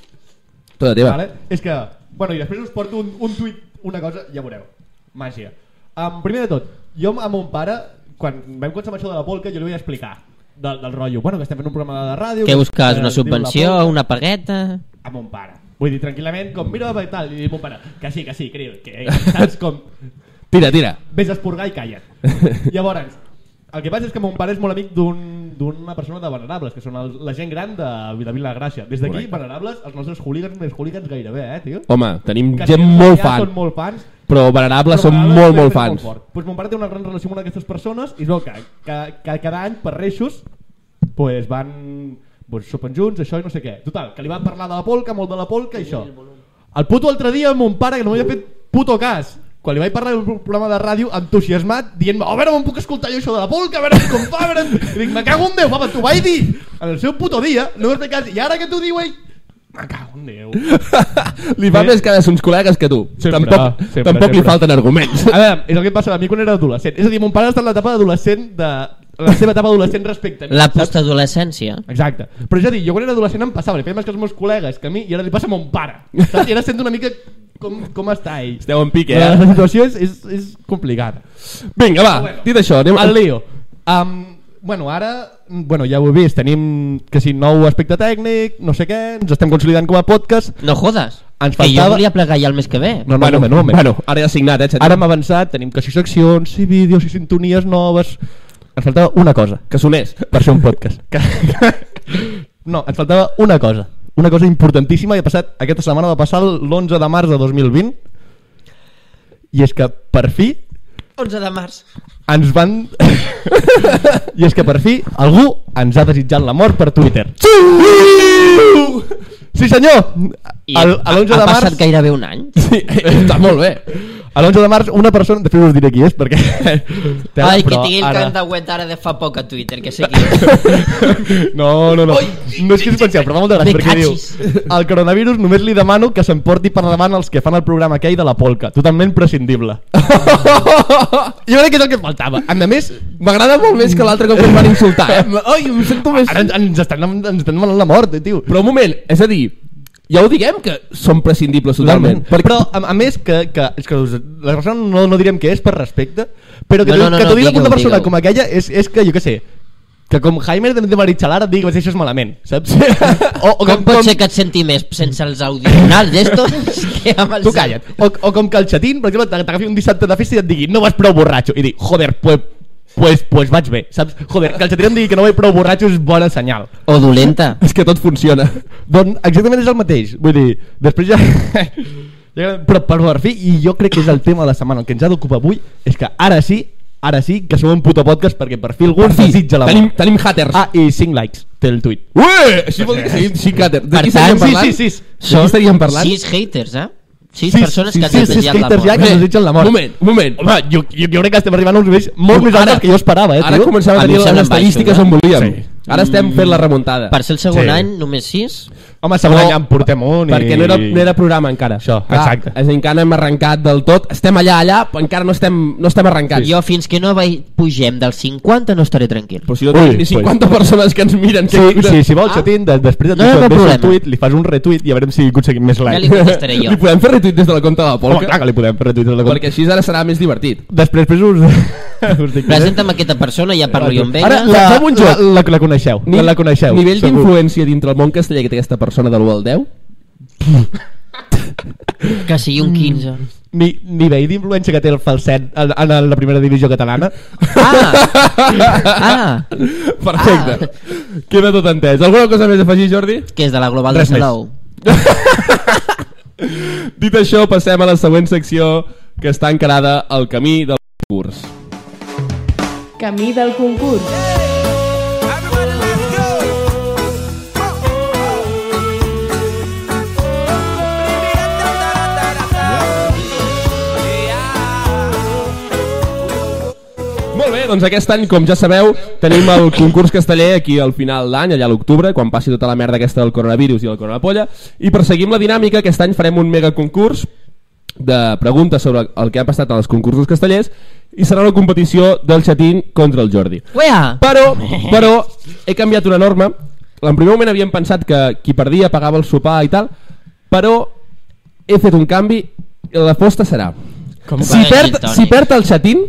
Speaker 2: Tota teva.
Speaker 1: Vale? És que... Bueno, i després us porto un, un tuit, una cosa, ja veureu. Màgia. Um, primer de tot, jo a mon pare, quan vam començar amb això de la polca, jo li vaig explicar del, del rotllo. Bueno, que estem fent un programa de ràdio...
Speaker 3: Què
Speaker 1: que-
Speaker 3: busques?
Speaker 1: que es
Speaker 3: Una
Speaker 1: diu La
Speaker 3: subvenció,
Speaker 1: Polca,
Speaker 3: una pagueta...
Speaker 1: a mon pare. Vull dir, tranquil·lament, com, mira, i tal, i mon pare, que sí, que sí, crio, que, que saps com,
Speaker 2: Tira, tira.
Speaker 1: vés a esporgar i calla't. Llavors, el que passa és que mon pare és molt amic d'un- d'una persona de venerables, que són el, la gent gran de, de Vilagràcia. Des d'aquí,
Speaker 2: Correcte.
Speaker 1: venerables, els nostres hooligans més hooligans gairebé, eh, tio?
Speaker 2: Home, tenim
Speaker 1: Que
Speaker 2: gent
Speaker 1: sí,
Speaker 2: molt
Speaker 1: ja
Speaker 2: fan,
Speaker 1: Són molt fans.
Speaker 2: però venerables són
Speaker 1: Però
Speaker 2: molt,
Speaker 1: Venerables
Speaker 2: molt
Speaker 1: és
Speaker 2: fans.
Speaker 1: fort. Doncs mon pare té una gran relació amb una d'aquestes persones i es veu que, que, que cada any per Reixos pues, van pues, sopen junts, això i no sé què. Total, que li van parlar de la polca, molt de la polca i això. El puto altre dia mon pare, que no m'havia fet puto cas, quan li vaig parlar d'un programa de ràdio entusiasmat, dient-me, a veure on puc escoltar jo això de la polca, a veure com fa, a veure... I dic, me cago en Déu, papa, t'ho vaig dir en el seu puto dia, no m'has fet cas, i ara que t'ho diu ell, me cago en Déu.
Speaker 2: Li fa
Speaker 1: Eh?
Speaker 2: més cara a uns col·legues que tu.
Speaker 1: Sempre,
Speaker 2: tampoc
Speaker 1: sempre,
Speaker 2: tampoc li
Speaker 1: sempre.
Speaker 2: falten arguments.
Speaker 1: A veure, és el que em passava a mi quan era adolescent. És a dir, mon pare ha estat l'etapa d'adolescent de la seva etapa adolescent respecte a mi.
Speaker 3: La
Speaker 1: saps?
Speaker 3: postadolescència.
Speaker 1: Exacte. Però ja dic, jo quan era adolescent em passava, li feia més que els meus col·legues que a mi, i ara li passa a mon pare. Saps? I ara sento una mica com, com està ell.
Speaker 2: Esteu en pique,
Speaker 1: La, la
Speaker 2: eh?
Speaker 1: situació és, és, és complicada.
Speaker 2: Vinga, va,
Speaker 1: Bueno.
Speaker 2: dit això, anem...
Speaker 1: El lío. Um, bueno, ara, bueno, ja ho he vist, tenim que si nou aspecte tècnic, no sé què, ens estem consolidant com a podcast.
Speaker 3: No jodes.
Speaker 1: Ens
Speaker 3: Que jo
Speaker 1: faltava-
Speaker 3: volia plegar ja el mes que ve.
Speaker 1: No, no,
Speaker 2: bueno,
Speaker 1: bueno, un moment, un moment.
Speaker 2: bueno, ara ja signat, eh? Xatín?
Speaker 1: Ara hem avançat, tenim que si seccions, si vídeos, si sintonies noves... Ens faltava una cosa
Speaker 2: Que sonés.
Speaker 1: per ser un podcast. Que- no, ens faltava una cosa. Una cosa importantíssima que ha passat aquesta setmana, va passar l'11 de març de 2020 i és que per fi
Speaker 3: 11 de març.
Speaker 1: ens van... I és que per fi algú ens ha desitjat la mort per Twitter. Sí senyor!
Speaker 3: I
Speaker 1: El, a l'11 de
Speaker 3: ha
Speaker 1: març...
Speaker 3: passat gairebé un any.
Speaker 2: Sí, està molt bé.
Speaker 1: A l'11 de març una persona, després us diré qui és perquè...
Speaker 3: Ai, que
Speaker 1: Però
Speaker 3: tingui el
Speaker 1: ara-
Speaker 3: cant de web ara de fa poc a Twitter, que sé qui és.
Speaker 1: No, no, no. No és que és especial, però fa molta gràcia,
Speaker 3: Me
Speaker 1: perquè diu...
Speaker 3: cachis.
Speaker 1: El coronavirus només li demano que s'emporti per davant els que fan el programa aquell de la polca. Totalment prescindible. jo crec que és el que faltava. A més,
Speaker 2: M'agrada molt més que l'altre cop que em van insultar, eh? Ai, em sento més...
Speaker 1: ara ens, ens, estan, ens estan demanant la mort, eh, tio.
Speaker 2: Però un moment, és a dir, ja ho diguem que són prescindibles totalment.
Speaker 1: Perquè... Però, a, a més, que, que, és que us- la persona no, no direm que és per respecte, però que,
Speaker 3: No,
Speaker 1: no,
Speaker 3: no, no,
Speaker 1: que t'ho
Speaker 3: no,
Speaker 1: digui
Speaker 3: digue-ho,
Speaker 1: una persona
Speaker 3: digue-ho.
Speaker 1: com aquella és, és que, jo què sé, que com Jaime de, de Marichalar et digui que això és malament, saps? o,
Speaker 3: Com, pot ser que et senti més sense els audionals d'estos que amb els...
Speaker 1: Tu calla't. O, o com que el xatín, per exemple, t'ag- t'agafi un dissabte de festa i et digui no vas prou borratxo. I dir, joder, pues, pues, pues vaig bé, saps? Joder, que el xatín em digui que no vaig prou borratxo és bona senyal.
Speaker 3: O dolenta.
Speaker 2: És que tot funciona.
Speaker 1: Doncs exactament és el mateix. Vull dir, després ja... ja- Però per per fi, i jo crec que és el tema de la setmana, el que ens ha d'ocupar avui, és que ara sí, ara sí, que som un puto podcast perquè per fi algú ens desitja la
Speaker 2: tenim,
Speaker 1: mort.
Speaker 2: tenim haters.
Speaker 1: Ah, i 5 likes, té el tuit.
Speaker 2: Ué, això vol dir que seguim cinc haters. De
Speaker 3: Per
Speaker 2: qui
Speaker 3: tant,
Speaker 2: estaríem
Speaker 1: Sí,
Speaker 2: parlant?
Speaker 1: sí, sí.
Speaker 2: De qui estaríem parlant?
Speaker 3: Sis haters, eh? Sis
Speaker 1: Sis-
Speaker 3: persones que
Speaker 1: sis-
Speaker 3: han
Speaker 1: sis
Speaker 3: desitjat la
Speaker 1: haters ja
Speaker 3: mort.
Speaker 1: que- ens desitgen la mort.
Speaker 2: Un moment, un moment.
Speaker 1: Home, jo, jo, jo crec que estem arribant a uns nivells molt més alts del que jo esperava, eh, tio?
Speaker 2: Ara començava
Speaker 3: A
Speaker 2: a
Speaker 3: mi
Speaker 2: tenir
Speaker 3: em
Speaker 2: les
Speaker 3: semblen
Speaker 2: estadístiques
Speaker 3: baixos,
Speaker 2: on volíem.
Speaker 1: Sí. Mm.
Speaker 2: Ara estem fent la remuntada.
Speaker 3: Per ser el segon
Speaker 1: Sí.
Speaker 3: any, només sis.
Speaker 1: Home, segon
Speaker 2: Però-
Speaker 1: any ja en portem un i...
Speaker 2: Perquè no era, no era programa encara.
Speaker 1: Això, exacte.
Speaker 2: És a dir, encara no hem arrencat del tot. Estem allà, allà, però encara no estem, no estem arrencats.
Speaker 3: Jo fins que no vaig, pugem del 50 no estaré tranquil.
Speaker 2: Però si no tenim
Speaker 1: Ui,
Speaker 2: ni
Speaker 1: pues-
Speaker 2: 50 persones que ens miren.
Speaker 1: Sí,
Speaker 2: que-
Speaker 1: sí, si vols,
Speaker 3: Ah.
Speaker 1: Xatín, de, després et
Speaker 3: No hi ha cap
Speaker 1: no un
Speaker 3: problema.
Speaker 1: tuit, li fas un retuit i a veure si aconseguim més
Speaker 3: Ja
Speaker 1: like.
Speaker 3: li contestaré jo.
Speaker 2: Li podem fer retuit des de la conta de la
Speaker 1: Home,
Speaker 2: Polca?
Speaker 1: clar que li podem fer retuit. de la compte.
Speaker 2: perquè així ara serà més divertit.
Speaker 1: Després, després us... us dic
Speaker 3: Presenta'm aquesta persona, ja parlo jo amb ella.
Speaker 1: Ara, la,
Speaker 2: Fem
Speaker 1: la,
Speaker 2: un
Speaker 1: la,
Speaker 2: joc.
Speaker 1: la, la coneixeu. Ni, la coneixeu.
Speaker 2: Nivell
Speaker 1: segur.
Speaker 2: d'influència dintre el món casteller que té aquesta persona de l'1 al 10?
Speaker 3: Que sigui
Speaker 1: Mm.
Speaker 3: un 15.
Speaker 1: Ni, nivell d'influència que té el falset en, en la primera divisió catalana.
Speaker 3: Ah! Ah!
Speaker 2: Perfecte. Ah. Queda tot entès. Alguna cosa més a afegir, Jordi?
Speaker 3: Que és de la Global
Speaker 1: Res
Speaker 3: de
Speaker 1: més.
Speaker 3: Salou.
Speaker 2: Dit això, passem a la següent secció que està encarada al camí del curs.
Speaker 4: Camí del concurs.
Speaker 5: Everybody, let's go.
Speaker 2: Molt bé, doncs aquest any, com ja sabeu, tenim el concurs casteller aquí al final d'any, allà a l'octubre, quan passi tota la merda aquesta del coronavirus i del coronapolla, i perseguim la dinàmica, aquest any farem un mega concurs de preguntes sobre el que ha passat en els concursos castellers i serà una competició del xatín contra el Jordi.
Speaker 3: Uea!
Speaker 2: Però, però, he canviat una norma. En primer moment havíem pensat que qui perdia pagava el sopar i tal, però he fet un canvi i la posta serà... si,
Speaker 3: que-
Speaker 2: perd,
Speaker 3: Toni. Hm?
Speaker 2: si perd el xatín,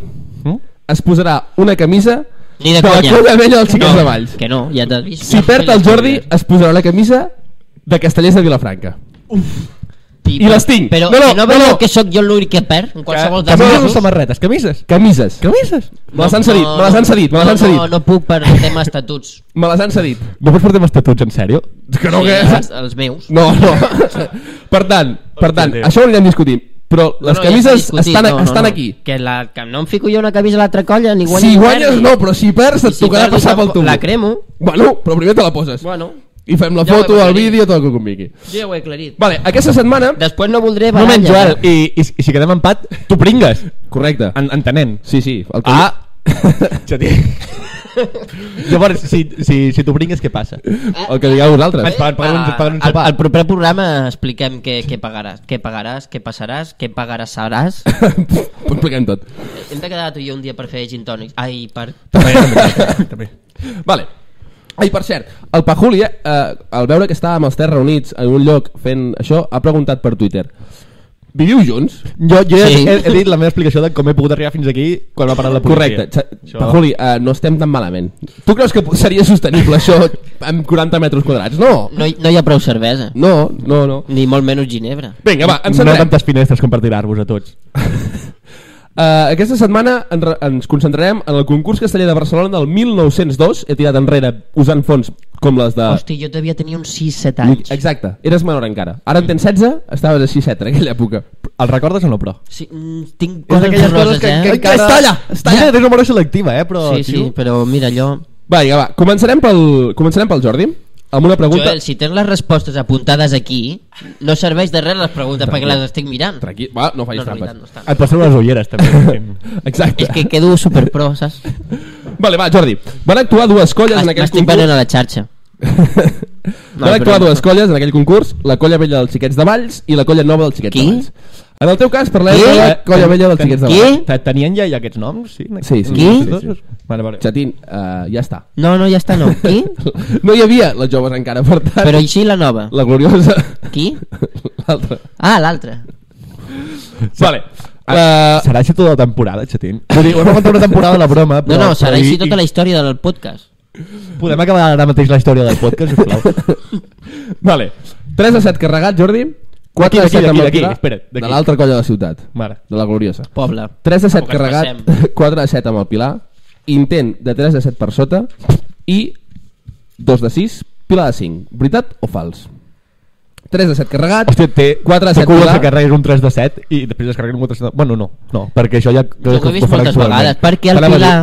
Speaker 2: es posarà una camisa
Speaker 3: Ni de
Speaker 2: la
Speaker 3: conya.
Speaker 2: colla vella dels xiquets
Speaker 3: no,
Speaker 2: de Valls.
Speaker 3: Que no, ja t'has vist.
Speaker 2: Si perd el Jordi, es posarà una camisa de Castellers de Vilafranca. i les tinc.
Speaker 3: Però
Speaker 2: No,
Speaker 3: no,
Speaker 2: no,
Speaker 3: no, no
Speaker 2: no,
Speaker 3: veieu
Speaker 2: no.
Speaker 3: que sóc jo l'únic que perd? En qualsevol dels
Speaker 1: Camises o
Speaker 3: casos...
Speaker 1: samarretes? Camises?
Speaker 2: Camises.
Speaker 1: Camises?
Speaker 2: Me les han cedit, me les han cedit, me les han
Speaker 3: no,
Speaker 2: cedit.
Speaker 3: No, no puc per tema estatuts.
Speaker 2: Me les han cedit.
Speaker 1: No pots portar amb estatuts, en sèrio?
Speaker 2: Que no,
Speaker 3: sí,
Speaker 2: que...
Speaker 3: els, els meus.
Speaker 2: No, no. per tant, per tant,
Speaker 1: Déu.
Speaker 2: això ho anirem discutint. Però les
Speaker 3: No, no, ja s'ha
Speaker 2: camises
Speaker 3: discutit,
Speaker 2: estan,
Speaker 3: no, no,
Speaker 2: estan
Speaker 3: no.
Speaker 2: aquí.
Speaker 3: Que, la, que no em fico jo una camisa a l'altra colla, ni guanyes
Speaker 2: Si
Speaker 3: ni
Speaker 2: guanyes,
Speaker 3: perds.
Speaker 2: no, però si perds et
Speaker 3: I si
Speaker 2: tocarà
Speaker 3: perdo,
Speaker 2: passar pel
Speaker 3: tampoc-
Speaker 2: tubo.
Speaker 3: La cremo.
Speaker 2: Bueno, però primer te la poses.
Speaker 3: Bueno,
Speaker 2: I fem la
Speaker 3: Ja ho
Speaker 2: foto, el
Speaker 3: aclariré.
Speaker 2: vídeo, tot el que convingui.
Speaker 3: jo ja ho he aclarit.
Speaker 2: Vale, aquesta setmana...
Speaker 3: Després no voldré
Speaker 1: Un moment, Joel,
Speaker 3: baralles. eh?
Speaker 1: i, i, i si quedem empat, tu pringues.
Speaker 2: Correcte.
Speaker 1: En, entenent.
Speaker 2: Sí, sí. El que...
Speaker 1: Ah! Xatín. Llavors, si, si, si t'ho bringues, què passa?
Speaker 2: El que digueu vosaltres.
Speaker 1: Ens paguen, paguen, uns, paguen un
Speaker 3: Ah, al,
Speaker 1: sopar.
Speaker 3: al proper programa expliquem què, què pagaràs, què pagaràs, què passaràs, què pagaràs seràs.
Speaker 2: Ho expliquem tot.
Speaker 3: Hem de quedar tu i jo un dia per fer gin tònics. Ai, per...
Speaker 1: També.
Speaker 2: Vale. Ai, per cert, el Pajuli, eh, eh, al veure que estàvem els tres reunits en un lloc fent això, ha preguntat per Twitter. Viviu junts?
Speaker 1: Jo, jo sí.
Speaker 3: Sí.
Speaker 1: he, he, dit la meva explicació de com he pogut arribar fins aquí quan m'ha parat la policia.
Speaker 2: Correcte. Sa- Pajuli, eh, no estem tan malament. Tu creus que po- seria sostenible això amb 40 metres quadrats? No.
Speaker 3: No, hi- no hi ha prou cervesa.
Speaker 2: No, no, no.
Speaker 3: Ni molt menys ginebra.
Speaker 2: Vinga, va, ens
Speaker 1: No
Speaker 2: centrem.
Speaker 1: tantes finestres com per tirar-vos a tots.
Speaker 2: Uh, aquesta setmana en re- ens concentrarem en el concurs casteller de Barcelona del 1902. He tirat enrere usant fons com les de...
Speaker 3: Hosti, jo devia tenir uns 6-7 anys.
Speaker 1: Mm,
Speaker 2: Exacte, eres menor encara. Ara en tens 16, estaves a 6-7 en aquella època.
Speaker 1: El recordes o no, però?
Speaker 3: Sí, mm, tinc
Speaker 1: És
Speaker 3: coses
Speaker 1: d'aquelles coses
Speaker 3: horroroses,
Speaker 1: que, que
Speaker 3: eh?
Speaker 1: encara...
Speaker 2: Està allà, està allà.
Speaker 1: Mira, tens una memòria selectiva, eh, però...
Speaker 3: Sí, sí,
Speaker 1: tio.
Speaker 3: però mira, allò...
Speaker 2: Va, vinga, va, començarem pel, començarem pel Jordi amb una pregunta...
Speaker 3: Joel, si tens les respostes apuntades aquí, no serveix de res les preguntes perquè les estic mirant.
Speaker 2: Tranquil, va, no
Speaker 3: No,
Speaker 2: facis
Speaker 3: en realitat no
Speaker 2: trampes.
Speaker 3: estan.
Speaker 1: Et passen les ulleres, també.
Speaker 2: Exacte.
Speaker 3: És que quedo superpro, saps?
Speaker 2: Vale, va, Jordi. Van actuar dues colles en aquell
Speaker 3: M'estic
Speaker 2: concurs...
Speaker 3: venent a la xarxa.
Speaker 2: Van
Speaker 3: No,
Speaker 2: actuar
Speaker 3: però-
Speaker 2: dues colles en aquell concurs, la colla vella dels xiquets de Valls i la colla nova dels xiquets
Speaker 3: Qui?
Speaker 2: de Valls. En el teu cas parlem
Speaker 3: Qui?
Speaker 2: de la colla vella dels xiquets de
Speaker 3: Qui?
Speaker 2: Valls.
Speaker 1: Te- Tenien ja, ja aquests noms? Sí,
Speaker 2: Sí, sí,
Speaker 3: Qui?
Speaker 2: sí, sí, sí.
Speaker 1: Vale, vale.
Speaker 2: Chatín, uh, ja està.
Speaker 3: No, no, ja està, no. Qui?
Speaker 2: No hi havia les joves encara, per tant...
Speaker 3: Però i sí la nova.
Speaker 2: La gloriosa...
Speaker 3: Qui?
Speaker 2: L'altra.
Speaker 3: Ah, l'altra.
Speaker 2: Vale.
Speaker 3: Ah.
Speaker 2: Uh,
Speaker 1: Serà així tota la temporada, Chatín? Vull dir, ho hem aguantat una temporada la broma,
Speaker 3: No,
Speaker 1: però...
Speaker 3: no, serà
Speaker 1: però i-
Speaker 3: així
Speaker 1: i-
Speaker 3: tota la història del podcast.
Speaker 1: Podem acabar ara mateix la història del podcast, sisplau?
Speaker 2: vale. 3 a 7 carregat, Jordi. 4
Speaker 1: D'aquí,
Speaker 2: a 7
Speaker 1: d'aquí,
Speaker 2: amb
Speaker 1: d'aquí,
Speaker 2: l'altra,
Speaker 1: espera't, d'aquí.
Speaker 2: de l'altra colla de la ciutat,
Speaker 1: Mare.
Speaker 2: de la gloriosa.
Speaker 3: Poble.
Speaker 2: 3 a 7
Speaker 3: Com que ens
Speaker 2: carregat,
Speaker 3: passem.
Speaker 2: 4 a 7 amb el Pilar, intent de 3 a 7 per sota i 2 de 6, Pilar de 5. Veritat o fals? 3 de 7 carregat,
Speaker 1: Hòstia, té
Speaker 2: 4 de 7
Speaker 1: cules
Speaker 2: Pilar.
Speaker 1: que carregues un 3 de 7 i després es carreguen un 4 de 7. Bueno, no, no, perquè això ja...
Speaker 3: Jo ho he vist moltes vegades, perquè el
Speaker 2: Anava a dir-
Speaker 3: Pilar...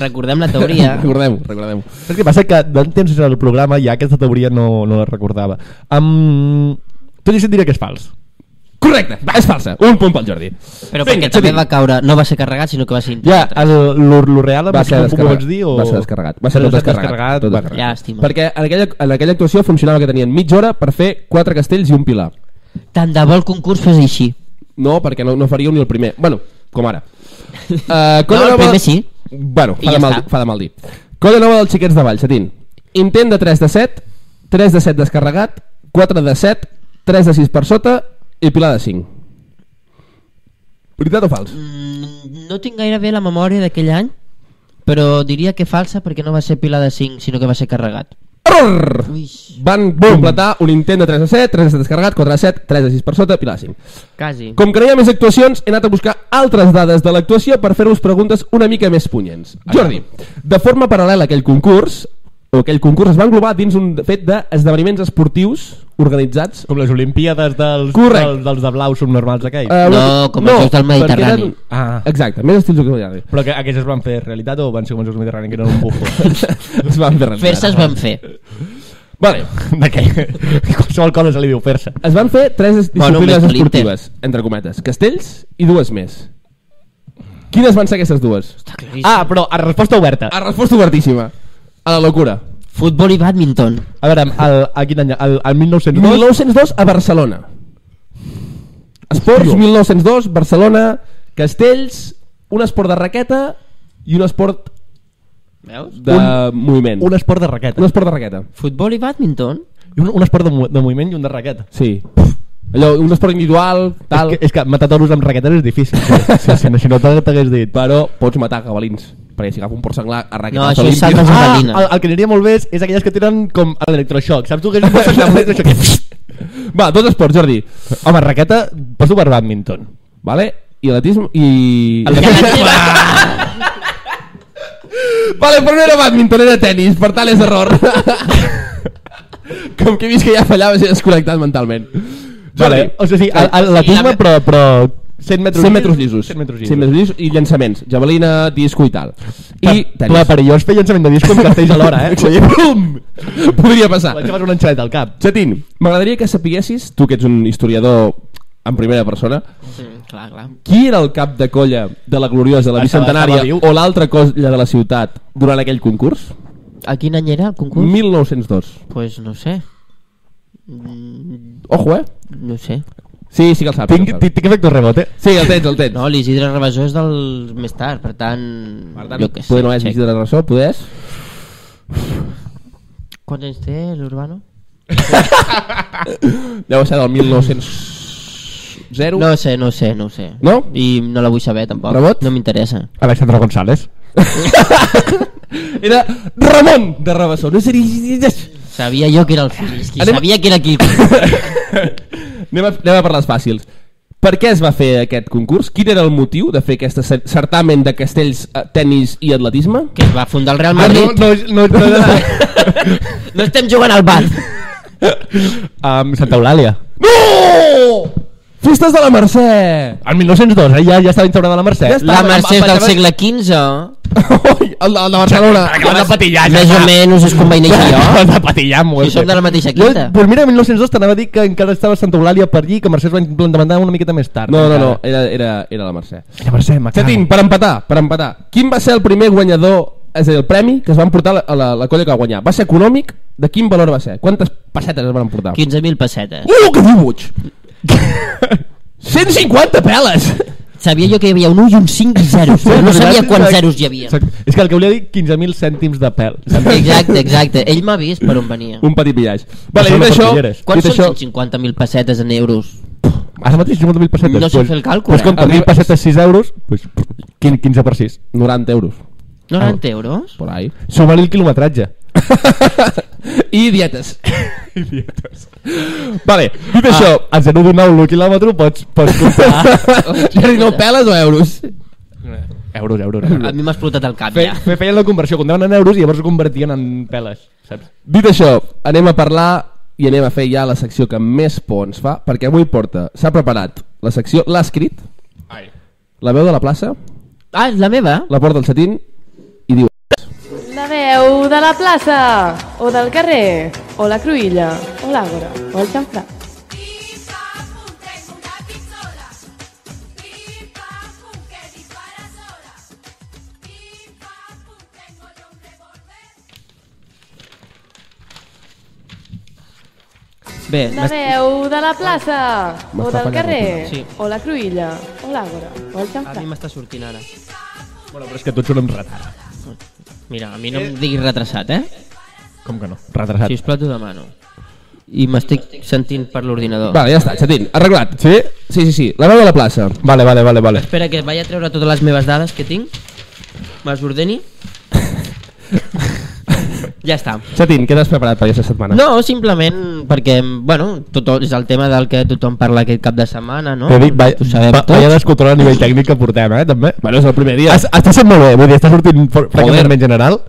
Speaker 3: Recordem la teoria.
Speaker 2: Recordem-ho, recordem-ho.
Speaker 1: Saps què passa? Que d'un temps al programa ja aquesta teoria no, no la recordava. Um, tot i així et diré que és fals.
Speaker 2: Correcte, va, és falsa. Un punt pel Jordi.
Speaker 3: Però perquè també va caure... No va ser carregat, sinó que va ser...
Speaker 1: Ja,
Speaker 3: internet.
Speaker 1: el, lo, lo real amb
Speaker 2: va
Speaker 1: el
Speaker 2: ser
Speaker 1: que ho
Speaker 2: descarregat.
Speaker 1: vaig dir o...
Speaker 2: Va ser descarregat. Va ser
Speaker 1: Però
Speaker 2: tot
Speaker 1: s'ha
Speaker 2: descarregat. Tot
Speaker 1: va.
Speaker 2: descarregat.
Speaker 3: Llàstima.
Speaker 2: Perquè en aquella, en aquella actuació funcionava que tenien mitja hora per fer quatre castells i un pilar.
Speaker 3: Tant de bo el concurs fes així.
Speaker 2: No, perquè no, no faríeu ni el primer. Bueno, com ara. Uh,
Speaker 3: No, el primer sí.
Speaker 2: Bueno,
Speaker 3: I
Speaker 2: fa,
Speaker 3: ja
Speaker 2: de mal,
Speaker 3: està.
Speaker 2: dir- fa de mal dir. Colla nova dels xiquets de Valls, Satín. Intent de 3 de 7, 3 de 7 descarregat, 4 de 7, 3 de 6 per sota i pilar de 5. Veritat o fals?
Speaker 3: Mm, No tinc gaire bé la memòria d'aquell any, però diria que falsa perquè no va ser Pilar de 5, sinó que va ser carregat.
Speaker 2: Error!
Speaker 3: Ui,
Speaker 2: Van completar un intent de 3 de 7, 3 de 7 descarregat, 4 de 7, 3 de 6 per sota, pilar de 5.
Speaker 3: quasi.
Speaker 2: Com que no hi ha més actuacions, he anat a buscar altres dades de l'actuació per fer-vos preguntes una mica més punyents. Jordi, de forma paral·lela a aquell concurs, o aquell concurs es va englobar dins un fet d'esdeveniments esportius organitzats
Speaker 1: Com les Olimpíades dels,
Speaker 2: Correcte.
Speaker 1: del, dels de blau subnormals aquells.
Speaker 2: Eh,
Speaker 3: No, com els Jocs del
Speaker 2: perquè
Speaker 3: Mediterrani.
Speaker 2: Eren... Ah.
Speaker 1: Ah.
Speaker 2: Exacte, més estils del Mediterrani.
Speaker 1: Però que aquests es van fer realitat o van ser com els Jocs Mediterranis, que eren un bufo?
Speaker 2: es van fer realitat.
Speaker 3: Fer-se es van fer.
Speaker 2: Vale.
Speaker 1: de què? Qualsevol cosa se li diu fer-se.
Speaker 2: Es van fer tres es-
Speaker 3: Bueno,
Speaker 2: disciplines
Speaker 3: un equilibri.
Speaker 2: esportives, entre cometes. Castells i dues més. Quines van ser aquestes dues?
Speaker 3: Està claríssim.
Speaker 1: Ah, però a resposta oberta.
Speaker 2: A resposta obertíssima. A la locura.
Speaker 3: Futbol i badminton.
Speaker 1: A veure, el, a quin any? El, el 1902?
Speaker 2: 1902 a Barcelona. Esports, 1902, Barcelona, Castells, un esport de raqueta i un esport
Speaker 3: Veus?
Speaker 2: de un, moviment.
Speaker 1: Un esport de raqueta.
Speaker 2: un esport de raqueta.
Speaker 3: Futbol i badminton?
Speaker 1: I Un, un esport de, mo- de moviment i un de raqueta.
Speaker 2: Sí. Allò, un esport individual, tal...
Speaker 1: És que, és que matar toros amb raquetes és difícil. tio. si, si, no- si no te- t'hagués dit.
Speaker 2: Però pots matar jabalins. Perquè si agafa un porc senglar a raqueta...
Speaker 3: No, això és saltes amb
Speaker 1: Ah, el,
Speaker 3: jabalina.
Speaker 1: el, que aniria molt bé és, és aquelles que tenen com l'electroxoc. Saps tu que és un cosa que amb l'electroxoc?
Speaker 2: Va, dos esports, Jordi.
Speaker 1: Home, raqueta, poso per badminton.
Speaker 2: Vale? I atletisme... I... Vale, però no era badminton, era tenis, per tant és error. Com que he vist que ja fallava, he desconnectat mentalment.
Speaker 1: Vale. O sigui, sí, el- el-
Speaker 3: Sí,
Speaker 1: l'atletisme,
Speaker 3: la-
Speaker 1: però, però 100 metres,
Speaker 2: 100 metres llisos.
Speaker 1: 100 metres llisos.
Speaker 2: 100 metres llisos i llançaments. Javelina, disco i tal. I
Speaker 1: I clar, perillós fer llançament de disc amb cartells alhora, eh? Vull dir, pum!
Speaker 2: Podria passar.
Speaker 1: Vaig a passar una enxaneta al cap.
Speaker 2: Chatín, m'agradaria que sapiguessis, tu que ets un historiador en primera persona,
Speaker 3: Sí, clar, clar.
Speaker 2: qui era el cap de colla de la gloriosa, la
Speaker 1: Estava-
Speaker 2: bicentenària
Speaker 1: estava viu.
Speaker 2: o l'altra colla de la ciutat durant aquell concurs?
Speaker 3: A quin any era el concurs? Mi...
Speaker 2: 1902.
Speaker 3: Pues no sé. Mm,
Speaker 2: Ojo, eh?
Speaker 3: no sé.
Speaker 2: Sí, sí que el saps.
Speaker 1: Tinc,
Speaker 2: el saps.
Speaker 1: tinc, tinc efecte rebote.
Speaker 2: Sí, el tens, el tens.
Speaker 3: No, l'Isidre Rebasó és del més tard, per tant...
Speaker 2: Per tant,
Speaker 3: jo què sé.
Speaker 2: poder no haver
Speaker 3: xec.
Speaker 2: llegit de la ressò, poders...
Speaker 3: Quants anys té l'Urbano?
Speaker 2: Deu ser del 1900... Zero.
Speaker 3: No ho sé, no ho sé, no ho sé.
Speaker 2: No?
Speaker 3: I no la vull saber, tampoc.
Speaker 2: Rebot?
Speaker 3: No m'interessa.
Speaker 1: Alexandra González.
Speaker 2: Era Ramon de Rabassó. No seria...
Speaker 3: Sabia jo que era el Filiski,
Speaker 2: Anem-
Speaker 3: Anem... sabia que era qui.
Speaker 2: anem, a, anem a per les fàcils. Per què es va fer aquest concurs? Quin era el motiu de fer aquest cer- certamen de castells, eh, tennis i atletisme?
Speaker 3: que es va fundar el Real
Speaker 1: Ah, no,
Speaker 3: Madrid.
Speaker 1: no, no, no, no.
Speaker 3: No estem jugant al bar.
Speaker 1: Amb Santa Eulàlia.
Speaker 2: No! Festes de la Mercè!
Speaker 1: El 1902, eh? ja, ja estava instaurada la Mercè.
Speaker 2: Ja està.
Speaker 3: La Mercè és del
Speaker 2: Em- em-
Speaker 3: segle XV.
Speaker 2: Ui, el, de- el de Barcelona.
Speaker 1: Quan de patillar, ja
Speaker 3: Més o
Speaker 1: està.
Speaker 3: menys us conveïneix jo.
Speaker 1: Quan de patillar, molt
Speaker 3: Si som de la mateixa
Speaker 1: Jo,
Speaker 3: quinta.
Speaker 1: pues mira, 1902 t'anava a dir que encara estava Santa Eulàlia per allí, que Mercè es va implementar una miqueta més tard.
Speaker 2: No, no, no,
Speaker 1: encara.
Speaker 2: era, era, era la Mercè.
Speaker 1: Ja, Mercè, m'acabo.
Speaker 2: Setín, per empatar, per empatar. Quin va ser el primer guanyador, és a dir, el premi que es van portar a la, la colla que va guanyar? Va ser econòmic? De quin valor va ser? Quantes pessetes es van portar?
Speaker 3: 15.000 pessetes.
Speaker 2: Uh, que diu boig! 150 peles!
Speaker 3: Sabia jo que hi havia un 1 i un 5 i zeros, però no sabia quants zeros hi havia.
Speaker 1: Exacte. És que el que volia dir, 15.000 cèntims de pèl.
Speaker 3: Exacte, exacte. Ell m'ha vist per on venia.
Speaker 2: Un petit viatge. Vale,
Speaker 1: Això no
Speaker 2: dit això,
Speaker 1: cartolleres.
Speaker 3: Quants
Speaker 2: dit això,
Speaker 3: són 150.000 pessetes en euros?
Speaker 1: Ara mateix 50.000 pessetes.
Speaker 3: No sé fer el càlcul,
Speaker 1: Pues,
Speaker 3: eh?
Speaker 1: compta, 1.000
Speaker 2: Arriba-
Speaker 1: pessetes 6 euros, pues, 15, 15 per 6.
Speaker 2: 90 euros.
Speaker 3: 90 euros?
Speaker 2: Por ahí.
Speaker 1: Suma-li el quilometratge.
Speaker 2: I dietes. Vale, dit
Speaker 1: Això,
Speaker 2: això,
Speaker 1: a 0,19 el quilòmetre pots, pots comprar...
Speaker 2: ja no peles o euros?
Speaker 1: euros, euros.
Speaker 3: A mi m'ha explotat el cap
Speaker 1: Fe,
Speaker 3: ja.
Speaker 1: fe, feien la conversió, comptaven en euros i llavors ho convertien en peles, saps?
Speaker 2: Dit això, anem a parlar i anem a fer ja la secció que més por ens fa, perquè avui porta, s'ha preparat la secció, l'ha escrit,
Speaker 1: Ai.
Speaker 2: la veu de la plaça,
Speaker 3: Ah, és la meva?
Speaker 2: la porta el setín i diu
Speaker 4: La veu de la plaça, o del carrer, o la cruïlla, o l'àgora, o el xamfrà.
Speaker 6: Pipa, pum, tengo una pistola. Pipa, pum, que dispara sola. Pipa, pum, tengo yo un revólver.
Speaker 3: Bé,
Speaker 4: La veu de la plaça, o
Speaker 2: M'està
Speaker 4: del
Speaker 2: fallant
Speaker 4: carrer,
Speaker 3: Sí.
Speaker 4: o la cruïlla, o l'àgora, o
Speaker 3: a
Speaker 4: el
Speaker 3: mi
Speaker 4: xamfrà.
Speaker 3: m'està sortint ara.
Speaker 1: Bueno, però és que tots són amb retard.
Speaker 3: Mira, a mi no em diguis retrasat, eh?
Speaker 1: Com que no? Retrasat.
Speaker 3: Si us plau, t'ho demano. I m'estic sentint per l'ordinador.
Speaker 2: Vale, ja està, setín, arreglat.
Speaker 1: Sí?
Speaker 2: Sí, sí, sí, la veu de la plaça.
Speaker 1: Vale, vale, vale, vale.
Speaker 3: Espera, que vaig a treure totes les meves dades que tinc. Me les ordeni. ja està.
Speaker 2: Setín, què t'has preparat per aquesta setmana?
Speaker 3: No, simplement perquè, bueno, tot és el tema del que tothom parla aquest cap de setmana, no?
Speaker 1: T'he dit, va,
Speaker 3: Ho sabem
Speaker 1: va,
Speaker 3: tots.
Speaker 1: vaya descontrol a nivell tècnic que portem, eh, també.
Speaker 2: Bueno, és el primer dia.
Speaker 1: Es- Està sent molt bé, vull dir, està sortint fr-
Speaker 2: Joder.
Speaker 1: francament en general,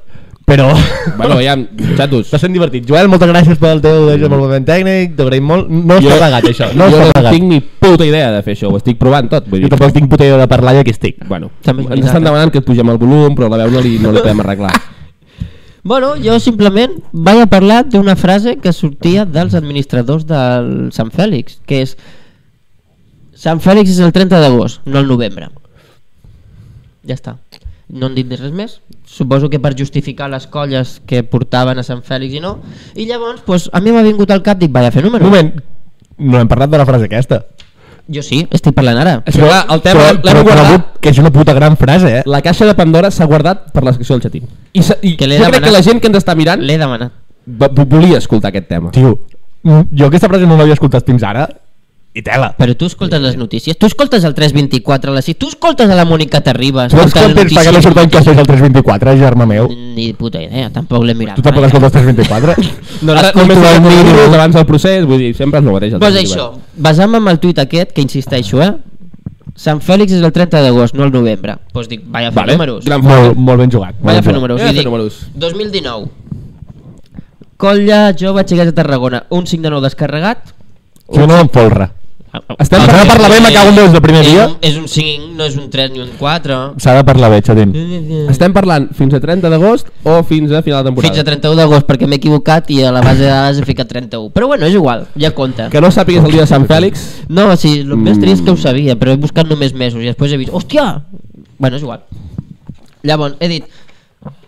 Speaker 1: però...
Speaker 2: Bueno, ja, xatos.
Speaker 1: Està sent divertit. Joel, moltes gràcies pel teu desenvolupament tècnic, t'agraïm molt. No està pagat, això. No
Speaker 2: Mm. jo
Speaker 1: està
Speaker 2: no
Speaker 1: pagat.
Speaker 2: tinc ni puta idea de fer això, ho estic provant tot. Vull
Speaker 1: Jo
Speaker 2: dir.
Speaker 1: tampoc tinc puta idea de parlar i aquí estic.
Speaker 2: Bueno,
Speaker 3: També és
Speaker 2: ens
Speaker 3: veritat,
Speaker 2: estan
Speaker 3: eh?
Speaker 2: demanant que pugem el volum, però la veu no li, no li podem arreglar.
Speaker 3: Bueno, jo simplement vaig a parlar d'una frase que sortia dels administradors del Sant Fèlix, que és Sant Fèlix és el 30 d'agost, no el novembre. Ja està. No han dit res més. Suposo que per justificar les colles que portaven a Sant Fèlix i no. I llavors, pues, a mi m'ha vingut al cap, dic, vaig a fer
Speaker 1: Un
Speaker 3: número.
Speaker 1: moment, no hem parlat de la frase aquesta.
Speaker 3: Jo sí, estic parlant ara.
Speaker 2: És que clar, el tema
Speaker 1: Però-
Speaker 2: l'hem-
Speaker 1: però
Speaker 2: l'hem guardat.
Speaker 1: trobo que és una puta gran frase, eh?
Speaker 2: La caixa de Pandora s'ha guardat per la secció del xatí. I, se- i
Speaker 3: Que
Speaker 2: jo
Speaker 3: l'he
Speaker 2: crec
Speaker 3: demanat.
Speaker 2: que la gent que ens està mirant
Speaker 3: L'he demanat.
Speaker 2: va- vo- volia escoltar aquest tema.
Speaker 1: Tio, mm, jo aquesta frase no l'havia escoltat fins ara. I tela.
Speaker 3: Però tu escoltes les notícies, tu escoltes el 324 a les 6, tu escoltes a la Mònica Terribas.
Speaker 1: Tu saps
Speaker 3: escoltes
Speaker 1: quan tens
Speaker 3: notícies,
Speaker 1: que Doncs no surten
Speaker 3: notícies.
Speaker 1: cafès al 324, germà meu?
Speaker 3: Ni puta idea, tampoc l'he mirat.
Speaker 1: Tu tampoc
Speaker 3: mai.
Speaker 1: escoltes 324?
Speaker 2: No, ara,
Speaker 1: Escolto
Speaker 2: només
Speaker 1: el
Speaker 2: el
Speaker 1: mínimo.
Speaker 2: minuts abans del procés, vull dir, sempre és el mateix. el
Speaker 3: Pues
Speaker 2: tema,
Speaker 3: això,
Speaker 2: bueno.
Speaker 3: basant-me en el tuit aquest, que insisteixo, eh? Sant Fèlix és el 30 d'agost, no el novembre. Doncs dic, vaig a fer
Speaker 2: Vale,
Speaker 3: números.
Speaker 2: gran
Speaker 1: Molt, molt ben jugat. molt
Speaker 3: Vaig a fer
Speaker 1: ben jugat.
Speaker 3: números.
Speaker 2: Vaig a
Speaker 3: i
Speaker 2: fer
Speaker 3: dic,
Speaker 2: números.
Speaker 3: 2019. Colla jove aixecats de Tarragona, un 5 de 9 descarregat,
Speaker 1: Jo no em folra.
Speaker 3: Ah,
Speaker 2: Estem
Speaker 1: S'ha de parlar bé, me cago en Déu, des del primer
Speaker 3: és
Speaker 1: dia.
Speaker 3: Un, és un 5, no és un 3 ni un 4.
Speaker 1: S'ha de parlar bé, xatín.
Speaker 2: Estem parlant fins a 30 d'agost o fins a final de temporada?
Speaker 3: Fins a 31 d'agost, perquè m'he equivocat i a la base de dades he ficat 31. Però bueno, és igual, ja compta.
Speaker 2: Que no sàpigues el dia de Sant Fèlix,
Speaker 3: No, sí, el més trist és que ho sabia, però he buscat només mesos i després he vist, hòstia! Bueno, és igual. Llavors, he dit,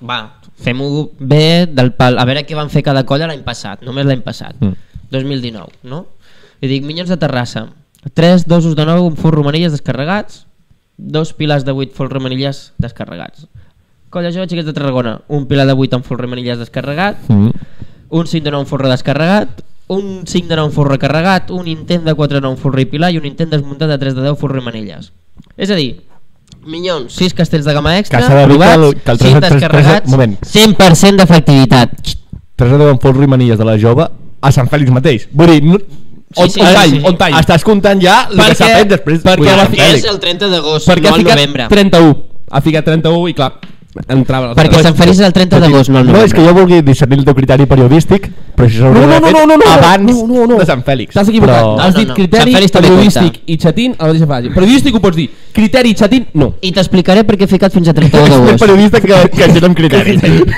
Speaker 3: va, fem-ho bé del pal, a veure què van fer cada colla l'any passat, només l'any passat,
Speaker 1: Mm.
Speaker 3: 2019, no? I dic, Minyons de Terrassa, tres dosos de nou amb forro manilles descarregats, dos pilars de vuit forro manilles descarregats. Colla jove xiquets de Tarragona, un pilar de vuit amb forro manilles descarregat,
Speaker 1: Mm.
Speaker 3: un 5 de 9 forra descarregat, un 5 de 9 forra carregat, un intent de 4 de 9 forra i pilar i un intent desmuntat de 3 de 10 forra i manilles. És a dir, Minyons, 6 castells de gamma extra,
Speaker 1: Que s'ha de dir que el-
Speaker 3: provats,
Speaker 1: que el
Speaker 3: 6
Speaker 1: tres- tres- tres-
Speaker 3: descarregats,
Speaker 1: moment.
Speaker 3: 100% d'efectivitat.
Speaker 1: Tres de deu amb folro i manilles de la jove a Sant Fèlix mateix. Vull dir, no...
Speaker 3: Sí,
Speaker 1: on-
Speaker 3: sí,
Speaker 1: on
Speaker 3: sí,
Speaker 1: tall,
Speaker 3: sí, sí.
Speaker 1: on tall. Estàs comptant ja el que s'ha
Speaker 2: Perquè-
Speaker 1: fet després.
Speaker 2: perquè
Speaker 1: Vull dir,
Speaker 2: la
Speaker 1: Sant
Speaker 2: fi-
Speaker 1: Fèlix.
Speaker 3: És el 30 d'agost,
Speaker 2: perquè
Speaker 3: no
Speaker 2: ha
Speaker 3: el
Speaker 2: ficat
Speaker 3: novembre.
Speaker 2: 31. Ha ficat 31 i clar, entrava...
Speaker 3: Perquè Sant Feliç és el 30 d'agost, no el
Speaker 1: No,
Speaker 3: novembre.
Speaker 1: és que jo vulgui discernir el teu criteri periodístic, però això s'hauria
Speaker 2: No, no,
Speaker 1: d'haver
Speaker 2: no,
Speaker 1: fet
Speaker 2: no, no, no,
Speaker 1: abans
Speaker 2: no, no, no.
Speaker 1: de Sant Fèlix.
Speaker 2: T'has equivocat.
Speaker 1: Però-
Speaker 2: Has
Speaker 3: No, no,
Speaker 2: dit
Speaker 3: no.
Speaker 2: criteri
Speaker 3: Sant Fèlix també
Speaker 2: periodístic
Speaker 3: compta.
Speaker 2: i xatín a la mateixa frase. Periodístic ho pots dir. Criteri i xatín, no.
Speaker 3: I t'explicaré per què he ficat fins a 31
Speaker 1: És un
Speaker 3: d'agost.
Speaker 1: periodista que, que gent amb criteri.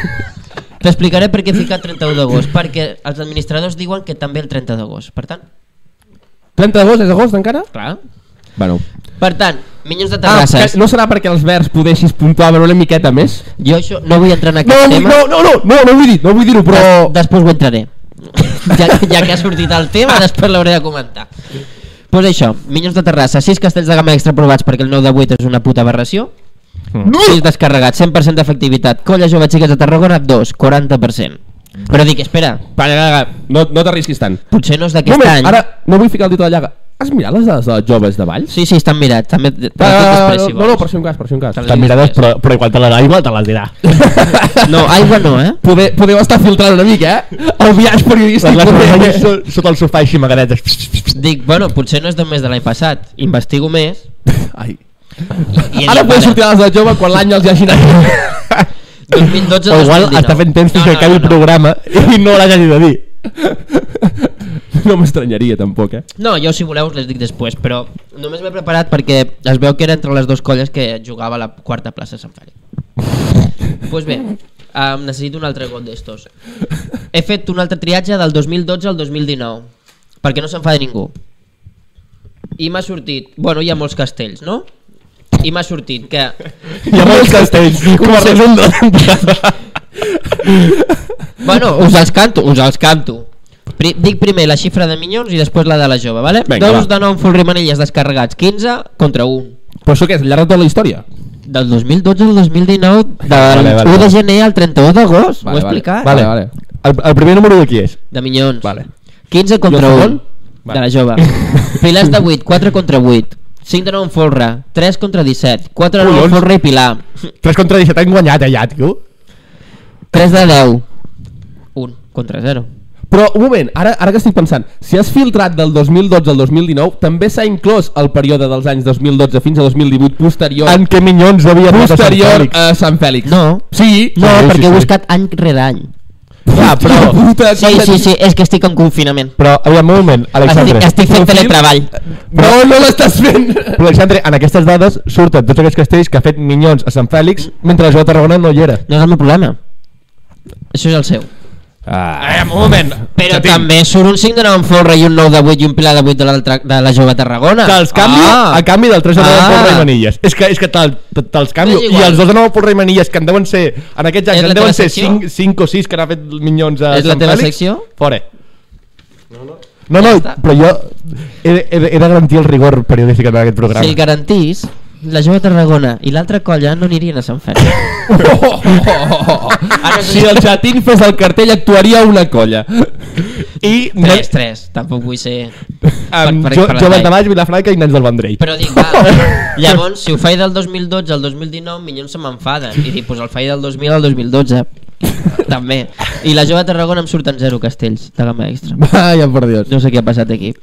Speaker 3: T'explicaré per què he ficat 31 d'agost, perquè els administradors diuen que també el 30 d'agost. Per tant,
Speaker 2: 30 d'agost és agost encara?
Speaker 3: clar.
Speaker 2: Bueno.
Speaker 3: Per tant, Minyons de
Speaker 2: Ah,
Speaker 3: Terrasses.
Speaker 2: que no serà perquè els verds podessis puntuar una miqueta més?
Speaker 3: Jo això no vull entrar en
Speaker 2: No,
Speaker 3: aquest
Speaker 2: vull-
Speaker 3: tema.
Speaker 2: no, no, no, no, no vull dir, no vull dir-ho, però...
Speaker 3: Des- Després ho entraré. ja, ja que ha sortit el tema, després l'hauré de comentar. Pues això, Minyons de Terrassa, 6 castells de gamma extra provats perquè el 9 de 8 és una puta aberració.
Speaker 2: Hmm.
Speaker 3: No! 6 descarregats, 100% d'efectivitat. Colla jove xiques de Tarragona, 2, 40%. Però dic, espera,
Speaker 2: Para, para, para. No, no t'arrisquis tant.
Speaker 3: potser no és d'aquest
Speaker 2: Moment,
Speaker 3: any.
Speaker 2: ara no vull ficar el dit a la llaga. Has mirat les dades de les joves de Valls?
Speaker 3: Sí, sí, estan mirats. També, te les dic
Speaker 2: Ah,
Speaker 3: després, si
Speaker 2: no, no, per
Speaker 3: vols.
Speaker 2: si un cas, per si un cas.
Speaker 3: Te les
Speaker 1: Te mirades, però, però igual te la da igual, te les dirà.
Speaker 3: No, aigua no, eh?
Speaker 2: Podeu, podeu estar filtrant una mica, eh? El viatge periodístic.
Speaker 1: Les les
Speaker 2: poder.
Speaker 1: medalles so- sota el sofà així amagadetes.
Speaker 3: Dic, bueno, potser no és del mes de l'any passat. Investigo més.
Speaker 1: Ai.
Speaker 3: I, i
Speaker 2: Ara podeu
Speaker 3: dic, vale,
Speaker 2: sortir les de jove quan l'any els hi hagi anat.
Speaker 3: 2012
Speaker 1: O igual
Speaker 3: 2019.
Speaker 1: està fent temps fins que acabi el programa i no l'has de dir.
Speaker 2: No m'estranyaria, tampoc, eh?
Speaker 3: No, jo si voleu us les dic després, però només m'he preparat perquè es veu que era entre les dues colles que jugava a la quarta plaça de Sant Fèlix. Doncs pues bé, um, necessito un altre got d'estos. He fet un altre triatge del 2012 al 2019, perquè no se'n fa de ningú. I m'ha sortit... Bueno, hi ha molts castells, no? I m'ha sortit que...
Speaker 1: Hi ha molts castells. Com a resum
Speaker 3: Bueno, us els canto, us els canto. Pri dic primer la xifra de minyons i després la de la jove, vale?
Speaker 2: Vinga,
Speaker 3: Dos
Speaker 2: va.
Speaker 3: de nou folrimanelles descarregats, 15 contra 1.
Speaker 2: Però això què és? Al llarg de tota la història?
Speaker 3: Del 2012 al 2019, del
Speaker 1: Vale, vale,
Speaker 3: 1 de
Speaker 1: vale.
Speaker 3: gener al 31 d'agost, ho he explicat.
Speaker 2: Vale, vale.
Speaker 1: El, el primer número de qui és?
Speaker 3: De minyons.
Speaker 1: Vale.
Speaker 3: 15
Speaker 2: I
Speaker 3: contra
Speaker 2: el
Speaker 3: 1,
Speaker 2: segon?
Speaker 3: de la jove. Pilars de 8, 4 contra 8. 5 de 9 en folre, 3 contra 17, 4 de 9 en
Speaker 1: Collons.
Speaker 3: folre i pilar,
Speaker 1: 3 contra 17 han guanyat allà, tio.
Speaker 3: 3 de 10, 1 contra 0.
Speaker 2: Però, un moment, ara, ara que estic pensant, si has filtrat del 2012 al 2019, també s'ha inclòs el període dels anys 2012 fins a 2018 posterior,
Speaker 1: En què Minyons havia anat a Sant
Speaker 2: posterior
Speaker 1: Fèlix.
Speaker 2: a Sant Fèlix.
Speaker 3: No,
Speaker 2: Sí,
Speaker 3: no,
Speaker 1: sí,
Speaker 3: perquè
Speaker 1: sí.
Speaker 3: he buscat any rere any.
Speaker 1: Clar,
Speaker 2: Hòstia
Speaker 1: però...
Speaker 2: puta,
Speaker 3: Sí,
Speaker 2: quanta-
Speaker 3: sí, sí, és que estic en confinament.
Speaker 1: Però, aviam, un moment, Alexandre.
Speaker 3: Estic, estic fent
Speaker 2: Confirm?
Speaker 3: teletreball.
Speaker 2: No, no l'estàs fent!
Speaker 1: Però, Alexandre, en aquestes dades surten tots aquests castells que ha fet Minyons a Sant Fèlix mentre la jove de Tarragona no hi era.
Speaker 3: No és el meu problema. Això és el seu.
Speaker 1: Ah, un moment.
Speaker 3: Però també surt un 5 de 9 en folre i un 9 de 8 i un pilar de 8 de, l'altra, de la jove Tarragona.
Speaker 1: Que els canvio ah. a canvi del 3 de 9
Speaker 3: Ah.
Speaker 1: ah. Porra i Manilles. És que, és que te'l- te- te'ls canvio.
Speaker 3: És
Speaker 1: I
Speaker 3: igual.
Speaker 1: els 2 de 9 Porra i Manilles, que en deuen ser, en aquests
Speaker 3: És
Speaker 1: anys,
Speaker 3: la
Speaker 1: en deuen
Speaker 3: teva
Speaker 1: ser
Speaker 3: secció?
Speaker 1: 5, 5 o 6 que n'ha fet Minyons a
Speaker 3: És la
Speaker 1: Sant
Speaker 3: teva
Speaker 1: Fèlix.
Speaker 3: secció?
Speaker 1: Fora. No, no,
Speaker 3: Ja
Speaker 1: no
Speaker 3: està.
Speaker 1: però jo he, de- he, de- he de garantir el rigor periodístic en aquest programa.
Speaker 3: Si el garantís, la jove Tarragona i l'altra colla no anirien a Sant Fèlix.
Speaker 2: Oh, oh, oh, oh.
Speaker 3: Ara
Speaker 2: Si el xatín fes el cartell actuaria una colla.
Speaker 1: I no,
Speaker 3: 3, 3, tampoc vull ser...
Speaker 1: amb
Speaker 3: per- per-
Speaker 1: Ah, jo,
Speaker 3: per la
Speaker 1: Joves de
Speaker 3: talla.
Speaker 1: Baix, Vilafranca i Nens del Vendrell.
Speaker 3: Però dic, va, llavors, si ho faig del 2012 al 2019, minyons se m'enfaden. I dic, doncs el faig del 2000 al 2012. També. I la jove Tarragona em surten 0 castells de gamma extra.
Speaker 2: Vaya, por Dios.
Speaker 3: No sé què ha passat aquí.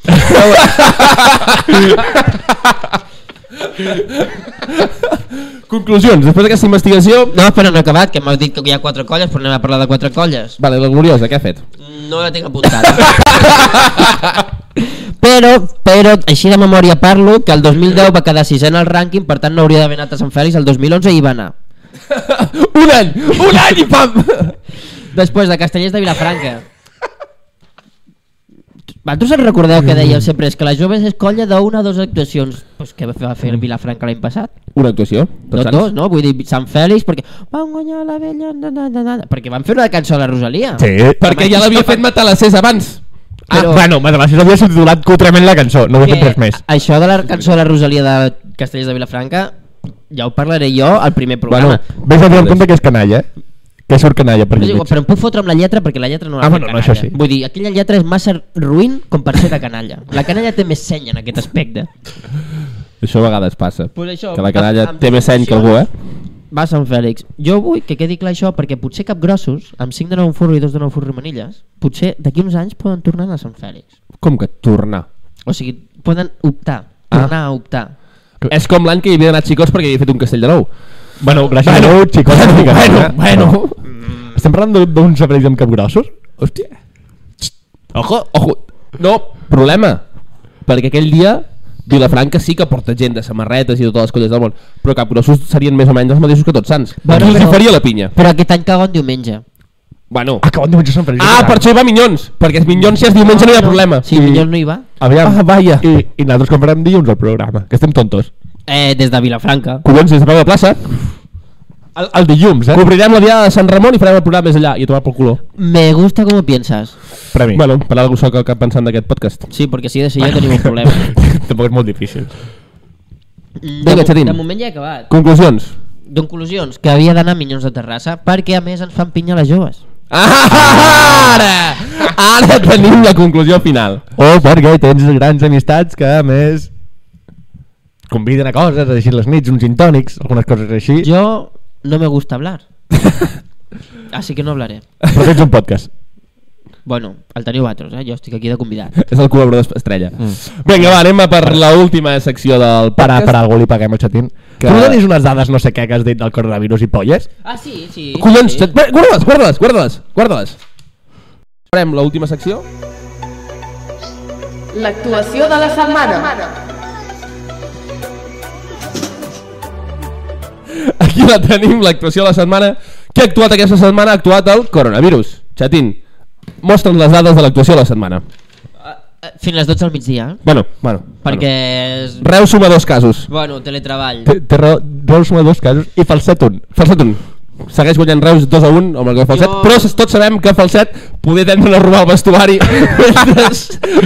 Speaker 2: Conclusions, després d'aquesta investigació...
Speaker 3: No, però no he acabat, que m'has dit que hi ha quatre colles, però anem a parlar de quatre colles.
Speaker 2: Vale, la gloriosa, què ha fet?
Speaker 3: No la tinc apuntada. però Però, però, així de memòria parlo, que el 2010 va quedar sisena al rànquing, per tant no hauria d'haver anat a Sant Fèlix, el 2011 hi va anar.
Speaker 2: un any! Un any i pam!
Speaker 3: Després de Castellers de Vilafranca. Vosaltres us recordeu que dèiem sempre és que les joves és colla d'una o dues actuacions pues, que va fer el Vilafranca l'any passat?
Speaker 2: Una actuació.
Speaker 3: No dos, no? Vull dir, Sant Fèlix, perquè... Van guanyar la vella... Na, na, na, na, perquè van fer una cançó a la Rosalia.
Speaker 1: Sí.
Speaker 2: Perquè ja l'havia fet Matalassés abans.
Speaker 1: Ah,
Speaker 3: Però-
Speaker 1: bueno, Matalassés havia subtitulat cutrament la cançó, no ho he fet res més.
Speaker 3: a- Això de la cançó de la Rosalia de Castells de Vilafranca, ja ho parlaré jo al primer
Speaker 1: Bueno,
Speaker 3: programa.
Speaker 1: vés ah, a dir en compte que és canalla, eh? que surt canalla per
Speaker 3: Però, és
Speaker 1: allà.
Speaker 3: igual, però em puc fotre amb la lletra perquè la lletra no la
Speaker 1: Ah,
Speaker 3: fa
Speaker 1: bueno, no,
Speaker 3: canalla.
Speaker 1: això sí.
Speaker 3: Vull dir, aquella lletra és massa ruïn com per ser de canalla. La canalla té més seny en aquest aspecte.
Speaker 2: Això a vegades passa.
Speaker 3: Pues això,
Speaker 2: que la canalla
Speaker 3: amb- amb
Speaker 2: té més seny que algú, eh?
Speaker 3: Va, Sant Fèlix. Jo vull que quedi clar això perquè potser cap grossos, amb 5 de nou furro i 2 de nou furro i manilles, potser d'aquí uns anys poden tornar a anar a Sant Fèlix.
Speaker 2: Com que tornar?
Speaker 3: O sigui, poden optar, tornar ah. a optar.
Speaker 2: És com l'any que hi havia anat xicots perquè hi havia fet un castell de nou.
Speaker 1: Bueno, gràcies
Speaker 2: Bueno,
Speaker 1: a Déu, xicos.
Speaker 2: bueno, bueno, bueno.
Speaker 1: eh? Estem parlant d'un- d'uns aparells amb capgrossos?
Speaker 2: Hòstia. Ojo, ojo. No, problema. Perquè aquell dia Vilafranca sí que porta gent de samarretes i de totes les colles del món, però capgrossos serien més o menys els mateixos que tots sants. Bueno,
Speaker 3: Bueno, però-
Speaker 2: però... faria la pinya.
Speaker 3: Però aquest any cago en diumenge.
Speaker 2: Bueno.
Speaker 1: Ah, que bon diumenge Sant Feliç.
Speaker 2: Ah, per això hi va Minyons, perquè els Minyons si és diumenge no hi ha problema.
Speaker 3: Sí, millor no hi va.
Speaker 1: Aviam.
Speaker 2: Ah, vaja.
Speaker 1: I, I nosaltres comprarem dilluns el programa, que estem tontos.
Speaker 3: Eh, des de Vilafranca.
Speaker 1: Collons, des de peu de plaça, el, el dilluns, eh?
Speaker 2: Cobrirem la diada de Sant Ramon i farem el programa més allà i a tomar pel culo.
Speaker 3: Me gusta com ho piensas.
Speaker 1: Premi.
Speaker 2: Bueno, per algú sóc el que pensant d'aquest podcast.
Speaker 3: Sí, perquè si he de ser jo tenim un problema.
Speaker 1: Tampoc és molt difícil.
Speaker 3: De,
Speaker 2: Vinga,
Speaker 3: mo-
Speaker 2: Xatín.
Speaker 3: de moment ja he acabat.
Speaker 2: Conclusions.
Speaker 3: Doncs conclusions, que havia d'anar a Minyons de Terrassa perquè a més ens fan pinya les joves.
Speaker 2: Ara! Ara tenim la conclusió final.
Speaker 1: O Oh, perquè tens grans amistats que, a més, conviden a coses, a deixar les nits, uns intònics, algunes coses així.
Speaker 3: Jo no me gusta hablar. Así que no hablaré.
Speaker 1: Però tens un podcast.
Speaker 3: Bueno, el teniu vosaltres, eh? jo estic aquí de convidat.
Speaker 2: És el col·laborador estrella. Mm. Vinga, va, anem a per la última secció del
Speaker 1: Per, a,
Speaker 2: podcast.
Speaker 1: per a algú li paguem el xatín.
Speaker 2: Que-
Speaker 1: Que... Tu no tenies unes dades no sé què que has dit del coronavirus i polles?
Speaker 3: Ah, sí, sí.
Speaker 2: Collons,
Speaker 3: sí.
Speaker 2: sí. guarda-les, guarda-les, guarda-les, guarda-les. Farem l'última secció.
Speaker 4: L'actuació de la setmana.
Speaker 2: Aquí la tenim, l'actuació de la setmana. Qui ha actuat aquesta setmana? Ha actuat el coronavirus. Xatín, mostra'ns les dades de l'actuació de la setmana.
Speaker 3: Eh, Fins les 12 al migdia, eh?
Speaker 2: Bueno, bueno.
Speaker 3: perquè... és-
Speaker 2: Bueno. Reus suma dos casos.
Speaker 3: Bueno, teletreball.
Speaker 1: Té, té raó, Reus suma dos casos i falset un.
Speaker 2: Falset un. Segueix guanyant Reus 2 a 1 amb el gol de Falset, jo...
Speaker 3: Jo-
Speaker 2: però tots sabem que Falset poder tendre a robar el vestuari mentre,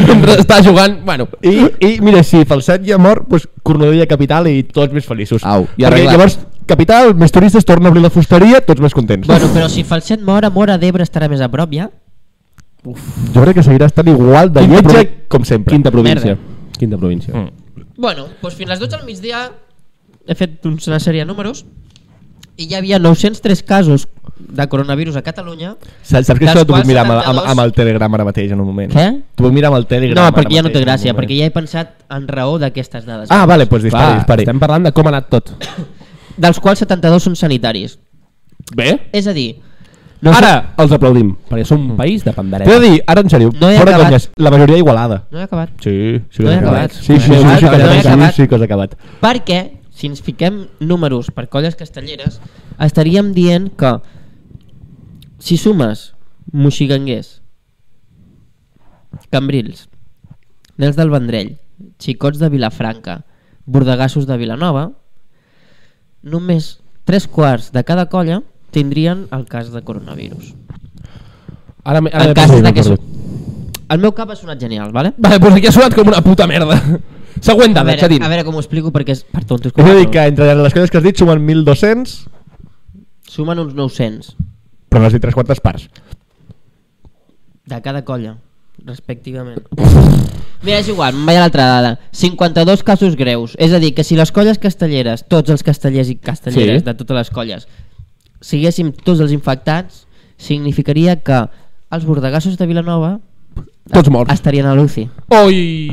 Speaker 2: mentre està jugant. Bueno,
Speaker 1: I, i mira, si falset ja mort, doncs Cornudella capital i tots més feliços.
Speaker 2: Au, i
Speaker 1: Perquè
Speaker 2: arreglat.
Speaker 1: llavors, capital, més turistes, torna a obrir la fusteria, tots més contents.
Speaker 3: Bueno, però si Falset mor, a Mora d'Ebre estarà més a prop, ja?
Speaker 1: Jo crec que seguirà estant igual de
Speaker 2: Quinta
Speaker 1: lletja
Speaker 2: provi-
Speaker 1: com sempre.
Speaker 2: quinta província.
Speaker 3: Merda.
Speaker 2: Quinta província. Mm.
Speaker 3: Bueno, doncs fins les 12 al migdia he fet uns- una sèrie de números i hi havia 903 casos de coronavirus a Catalunya.
Speaker 1: Saps, saps que
Speaker 3: Dels
Speaker 1: això t'ho
Speaker 3: quals
Speaker 1: puc mirar amb, amb,
Speaker 3: 72
Speaker 1: amb el Telegram ara mateix en un moment.
Speaker 3: Què?
Speaker 1: T'ho puc mirar amb el Telegram
Speaker 3: No, perquè ja no
Speaker 1: mateix,
Speaker 3: té
Speaker 1: en un
Speaker 3: gràcia,
Speaker 1: moment.
Speaker 3: perquè ja he pensat en raó d'aquestes dades.
Speaker 1: Ah, vale, doncs dispari, dispari.
Speaker 2: estem parlant de com ha anat tot.
Speaker 3: Dels quals 72 són sanitaris.
Speaker 2: Bé,
Speaker 3: És a dir,
Speaker 2: no ara els aplaudim, perquè som un país de
Speaker 1: T'he de
Speaker 2: pandereta.
Speaker 1: dir, ara en sèrio,
Speaker 3: No he
Speaker 1: fora
Speaker 3: acabat.
Speaker 1: conyes, la majoria igualada.
Speaker 3: no he acabat.
Speaker 1: Sí, sí
Speaker 3: No he acabat.
Speaker 1: Sí, sí, sí,
Speaker 2: No he
Speaker 1: sí, sí,
Speaker 2: acabat,
Speaker 1: que
Speaker 2: no he
Speaker 1: has acabat.
Speaker 3: acabat.
Speaker 1: sí, que has acabat.
Speaker 3: Perquè, si ens fiquem números per colles castelleres, estaríem dient que si sumes moxiganguers, cambrils, nens del Vendrell, xicots de Vilafranca, bordegassos de Vilanova, només tres quarts de cada colla tindrien el cas de coronavirus.
Speaker 2: Ara,
Speaker 1: Ah,
Speaker 2: m'he-
Speaker 3: En
Speaker 2: ara,
Speaker 3: cas
Speaker 2: m'he
Speaker 3: de que...
Speaker 2: perdut.
Speaker 3: su- El meu cap ha sonat genial, vale?
Speaker 2: Vale, doncs aquí ha sonat com una puta merda. Següent
Speaker 3: A
Speaker 2: dada,
Speaker 3: veure,
Speaker 2: Xatín.
Speaker 3: a veure com ho explico perquè és per tontos. com
Speaker 1: És a dir,
Speaker 3: jo.
Speaker 1: que entre les coses que has dit sumen 1.200,
Speaker 3: Sumen uns 900.
Speaker 1: però n'has dit tres quartes parts.
Speaker 3: De cada colla, respectivament. Mira, és igual, em vaig a l'altra dada. 52 casos greus. És a dir, que si les colles castelleres, tots els castellers i castelleres
Speaker 2: Sí.
Speaker 3: sí. de totes les colles, siguéssim tots els infectats, significaria que els bordegassos de Vilanova
Speaker 2: Tots morts.
Speaker 3: estarien a l'UCI.
Speaker 2: Oi!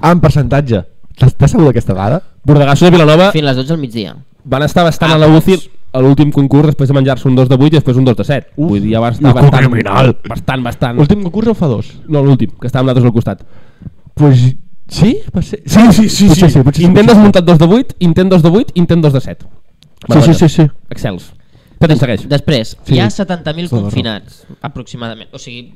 Speaker 1: Ah, en percentatge. T'has t'has sabut d'aquesta dada?
Speaker 2: Bordegassos de Vilanova
Speaker 3: Fins les 12 al migdia.
Speaker 2: van estar bastant a la UCI a l'últim concurs després de menjar-se un 2 de 8 i després un 2 de 7. Uf, Vull dir, ja van estar
Speaker 1: loco
Speaker 2: bastant,
Speaker 1: criminal.
Speaker 2: bastant, bastant...
Speaker 1: L'últim concurs o fa dos?
Speaker 2: No, l'últim, que estàvem nosaltres al costat.
Speaker 7: Pues sí, va ser... Sí, sí,
Speaker 2: Potser
Speaker 7: sí. Potser sí, potser sí
Speaker 2: intent
Speaker 7: potser sí.
Speaker 2: desmuntat 2 de 8, intent 2 de 8, intent 2 de 7.
Speaker 7: Sí, sí, sí, sí.
Speaker 2: Excels. Què te'n segueix?
Speaker 3: Després,
Speaker 7: Sí.
Speaker 3: hi ha 70.000
Speaker 7: Tota la raó.
Speaker 3: confinats, aproximadament. O sigui,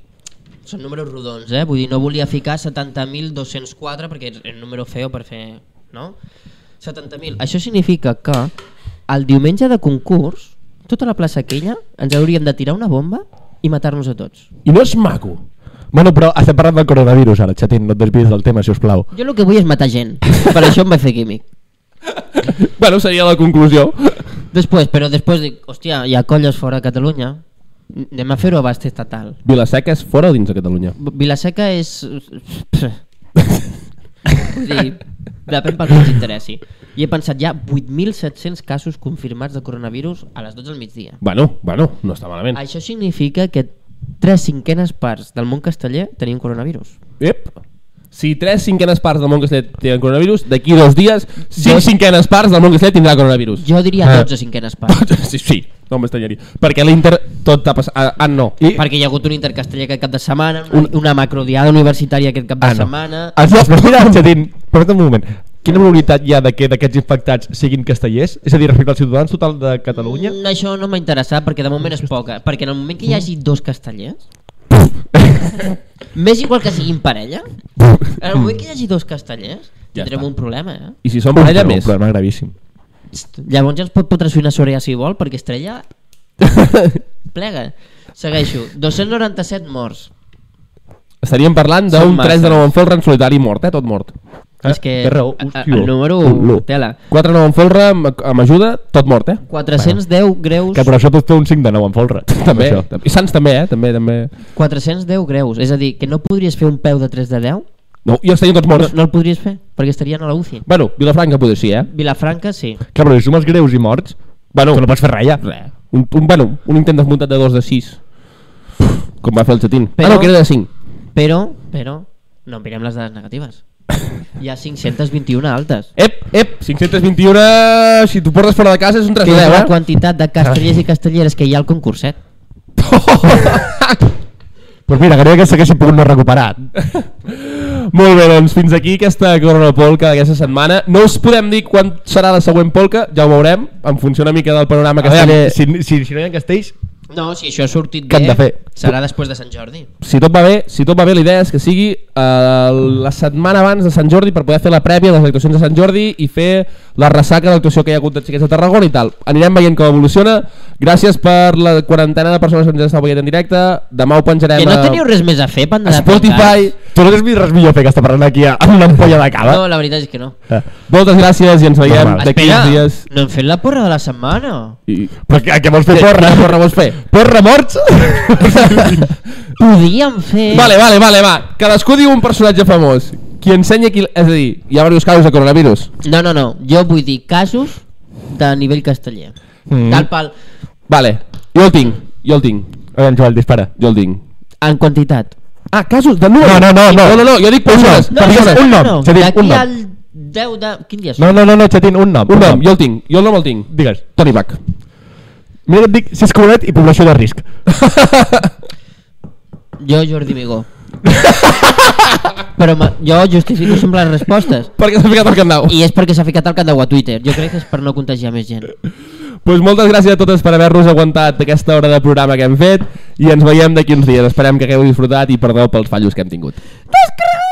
Speaker 3: són números rodons, eh? Vull dir, no volia ficar 70.204 perquè és un número feo per fer... No? 70.000. Això significa que el diumenge de concurs, tota la plaça aquella, ens hauríem de tirar una bomba i matar-nos a tots.
Speaker 7: I no és maco. Bueno, però estem parlant del coronavirus ara, xatín, no et desvies del tema, si us plau.
Speaker 3: Jo el que vull és matar gent, per això em vaig fer químic.
Speaker 2: Bueno, seria la conclusió.
Speaker 3: Després, però després dic, hòstia, hi ha colles fora de Catalunya, anem a fer-ho a bast estatal.
Speaker 2: Vilaseca és fora o dins de Catalunya?
Speaker 3: Vilaseca és... Vull dir, depèn pel que ens interessi. I he pensat, hi ha 8.700 casos confirmats de coronavirus a les 12 del migdia.
Speaker 2: Bueno, bueno, no està malament.
Speaker 3: Això significa que tres cinquenes parts del món casteller tenim coronavirus.
Speaker 2: Ep. Si tres cinquenes parts del món castellet tenen coronavirus, d'aquí dos dies, cinc cinquenes parts del món castellet tindrà coronavirus.
Speaker 3: Jo diria
Speaker 7: Ah.
Speaker 3: 12 cinquenes parts,
Speaker 2: Sí, sí, no m'estanyaria. Perquè l'Inter tot t'ha passat... Ah, ah, no.
Speaker 7: I...
Speaker 3: perquè hi ha hagut un intercasteller aquest cap de setmana, una, una macrodiada universitària aquest cap de setmana...
Speaker 7: Els Ah, no, però mira, Jadín, permet un moment. Quina probabilitat hi ha de que d'aquests infectats siguin castellers? És a dir, respecte als ciutadans total de Catalunya?
Speaker 3: Mm, això no m'ha interessat perquè de moment és poca. Perquè en el moment que hi hagi dos castellers, m'és igual que siguin parella, en el moment que hi hagi dos castellers,
Speaker 2: Ja
Speaker 3: ja tindrem
Speaker 2: està.
Speaker 3: un problema, eh?
Speaker 2: I si són parella
Speaker 7: Però
Speaker 2: més?
Speaker 7: Un problema gravíssim.
Speaker 3: Psst, Llavors ja ens pot potre una Sorea si vol, perquè Estrella plega. Segueixo. 297 morts.
Speaker 2: Estaríem parlant d'un
Speaker 3: Són
Speaker 2: 3 de
Speaker 3: masses.
Speaker 2: 9 en folre en solitari mort, eh? Tot mort.
Speaker 3: És que
Speaker 7: Ah, té raó,
Speaker 3: a- a-
Speaker 7: hòstia.
Speaker 3: el número
Speaker 7: Olo.
Speaker 3: tela.
Speaker 2: 4 de 9 en folre amb, amb ajuda, tot mort, eh?
Speaker 3: 410 greus,
Speaker 7: Que per això pot fer un 5 de 9 en folre.
Speaker 2: També.
Speaker 7: Això.
Speaker 2: I Sants també, eh? També, també.
Speaker 3: 410 greus, és a dir, que no podries fer un peu de 3 de 10?
Speaker 2: No, i els tenien tots
Speaker 3: No,
Speaker 2: morts.
Speaker 3: no el podries fer, perquè estarien a la UCI.
Speaker 2: Bueno, Vilafranca poder sí, eh?
Speaker 3: Vilafranca, sí.
Speaker 7: Clar, però si sumes greus i morts, bueno, tu no pots fer res ja.
Speaker 2: Res. Un, un, bueno, un intent desmuntat de 2 de 6. Com va fer el xatín. Però... Ah, no,
Speaker 3: Però-
Speaker 2: que era de 5.
Speaker 3: Però, però, no mirem les dades negatives. Hi ha 521 altes.
Speaker 2: Ep, ep, 521, si t'ho portes fora de casa és un 3
Speaker 3: Que
Speaker 2: de
Speaker 3: és
Speaker 2: 10,
Speaker 3: la
Speaker 2: eh?
Speaker 3: quantitat de castellers i castelleres que hi ha al concurset.
Speaker 7: Pues mira, gairebé que s'haguessin pogut no recuperar.
Speaker 2: Molt bé, doncs fins aquí aquesta Corona Polca d'aquesta setmana. No us podem dir quan serà la següent polca, ja ho veurem, en funció una mica del panorama
Speaker 7: A veure,
Speaker 2: casteller.
Speaker 7: si, si, si no hi ha castells,
Speaker 3: No, si això ha sortit
Speaker 7: Què
Speaker 3: bé,
Speaker 7: hem de fer? Eh,
Speaker 3: serà després de Sant Jordi.
Speaker 2: Si tot va bé, si tot va bé, la idea és que sigui eh, la setmana abans de Sant Jordi per poder fer la prèvia de les actuacions de Sant Jordi i fer la ressaca de l'actuació que hi ha hagut de Xiquets de Tarragona i tal. Anirem veient com evoluciona. Gràcies per la quarantena de persones que ens estan veient en directe. Demà ho penjarem
Speaker 3: Que no
Speaker 2: a-
Speaker 3: teniu res més a fer,
Speaker 2: a
Speaker 3: panda de
Speaker 2: Spotify.
Speaker 3: pancats?
Speaker 7: tu no tens vist res millor a fer que estar parlant aquí amb una ampolla de cava?
Speaker 3: No, la veritat és que no.
Speaker 7: Eh,
Speaker 2: Moltes gràcies i ens veiem
Speaker 7: Normal.
Speaker 2: d'aquí uns dies.
Speaker 3: no hem fet la porra de la setmana.
Speaker 2: I...
Speaker 7: Però què, què vols fer, porra?
Speaker 2: Quina porra vols fer?
Speaker 7: Porra morts?
Speaker 3: Podíem fer...
Speaker 2: Vale, vale, vale, va. Cadascú diu un personatge famós. Qui ensenya qui... És a dir, hi ha diversos casos de coronavirus.
Speaker 3: No, no, no. Jo vull dir casos de nivell casteller. Mm. Tal pal.
Speaker 2: Vale. Jo el tinc. Jo el tinc.
Speaker 7: A veure, Joel, dispara.
Speaker 2: Jo el tinc.
Speaker 3: En quantitat.
Speaker 2: Ah, casos de número.
Speaker 7: No, no, no, no.
Speaker 2: No, no, no, jo dic persones.
Speaker 7: No, Persones, un nom, s'ha dit, un
Speaker 3: D'aquí
Speaker 7: nom.
Speaker 3: al 10 de... Quin dia és?
Speaker 7: No, no, no, no, Xatín, un nom.
Speaker 2: Un nom, jo el tinc. Jo el nom el tinc.
Speaker 7: Digues.
Speaker 2: Toni Bach.
Speaker 7: Mira, et dic, si és comunet i població de risc.
Speaker 3: Jo, Jordi Migó. Però ma- jo justifico sempre les respostes.
Speaker 2: Perquè s'ha ficat al candau.
Speaker 3: I és perquè s'ha ficat el candau a Twitter. Jo crec que és per no contagiar més gent.
Speaker 2: Pues moltes gràcies a totes per haver-nos aguantat aquesta hora de programa que hem fet i ens veiem d'aquí uns dies. Esperem que hagueu disfrutat i perdó pels fallos que hem tingut.
Speaker 3: T'has cregut!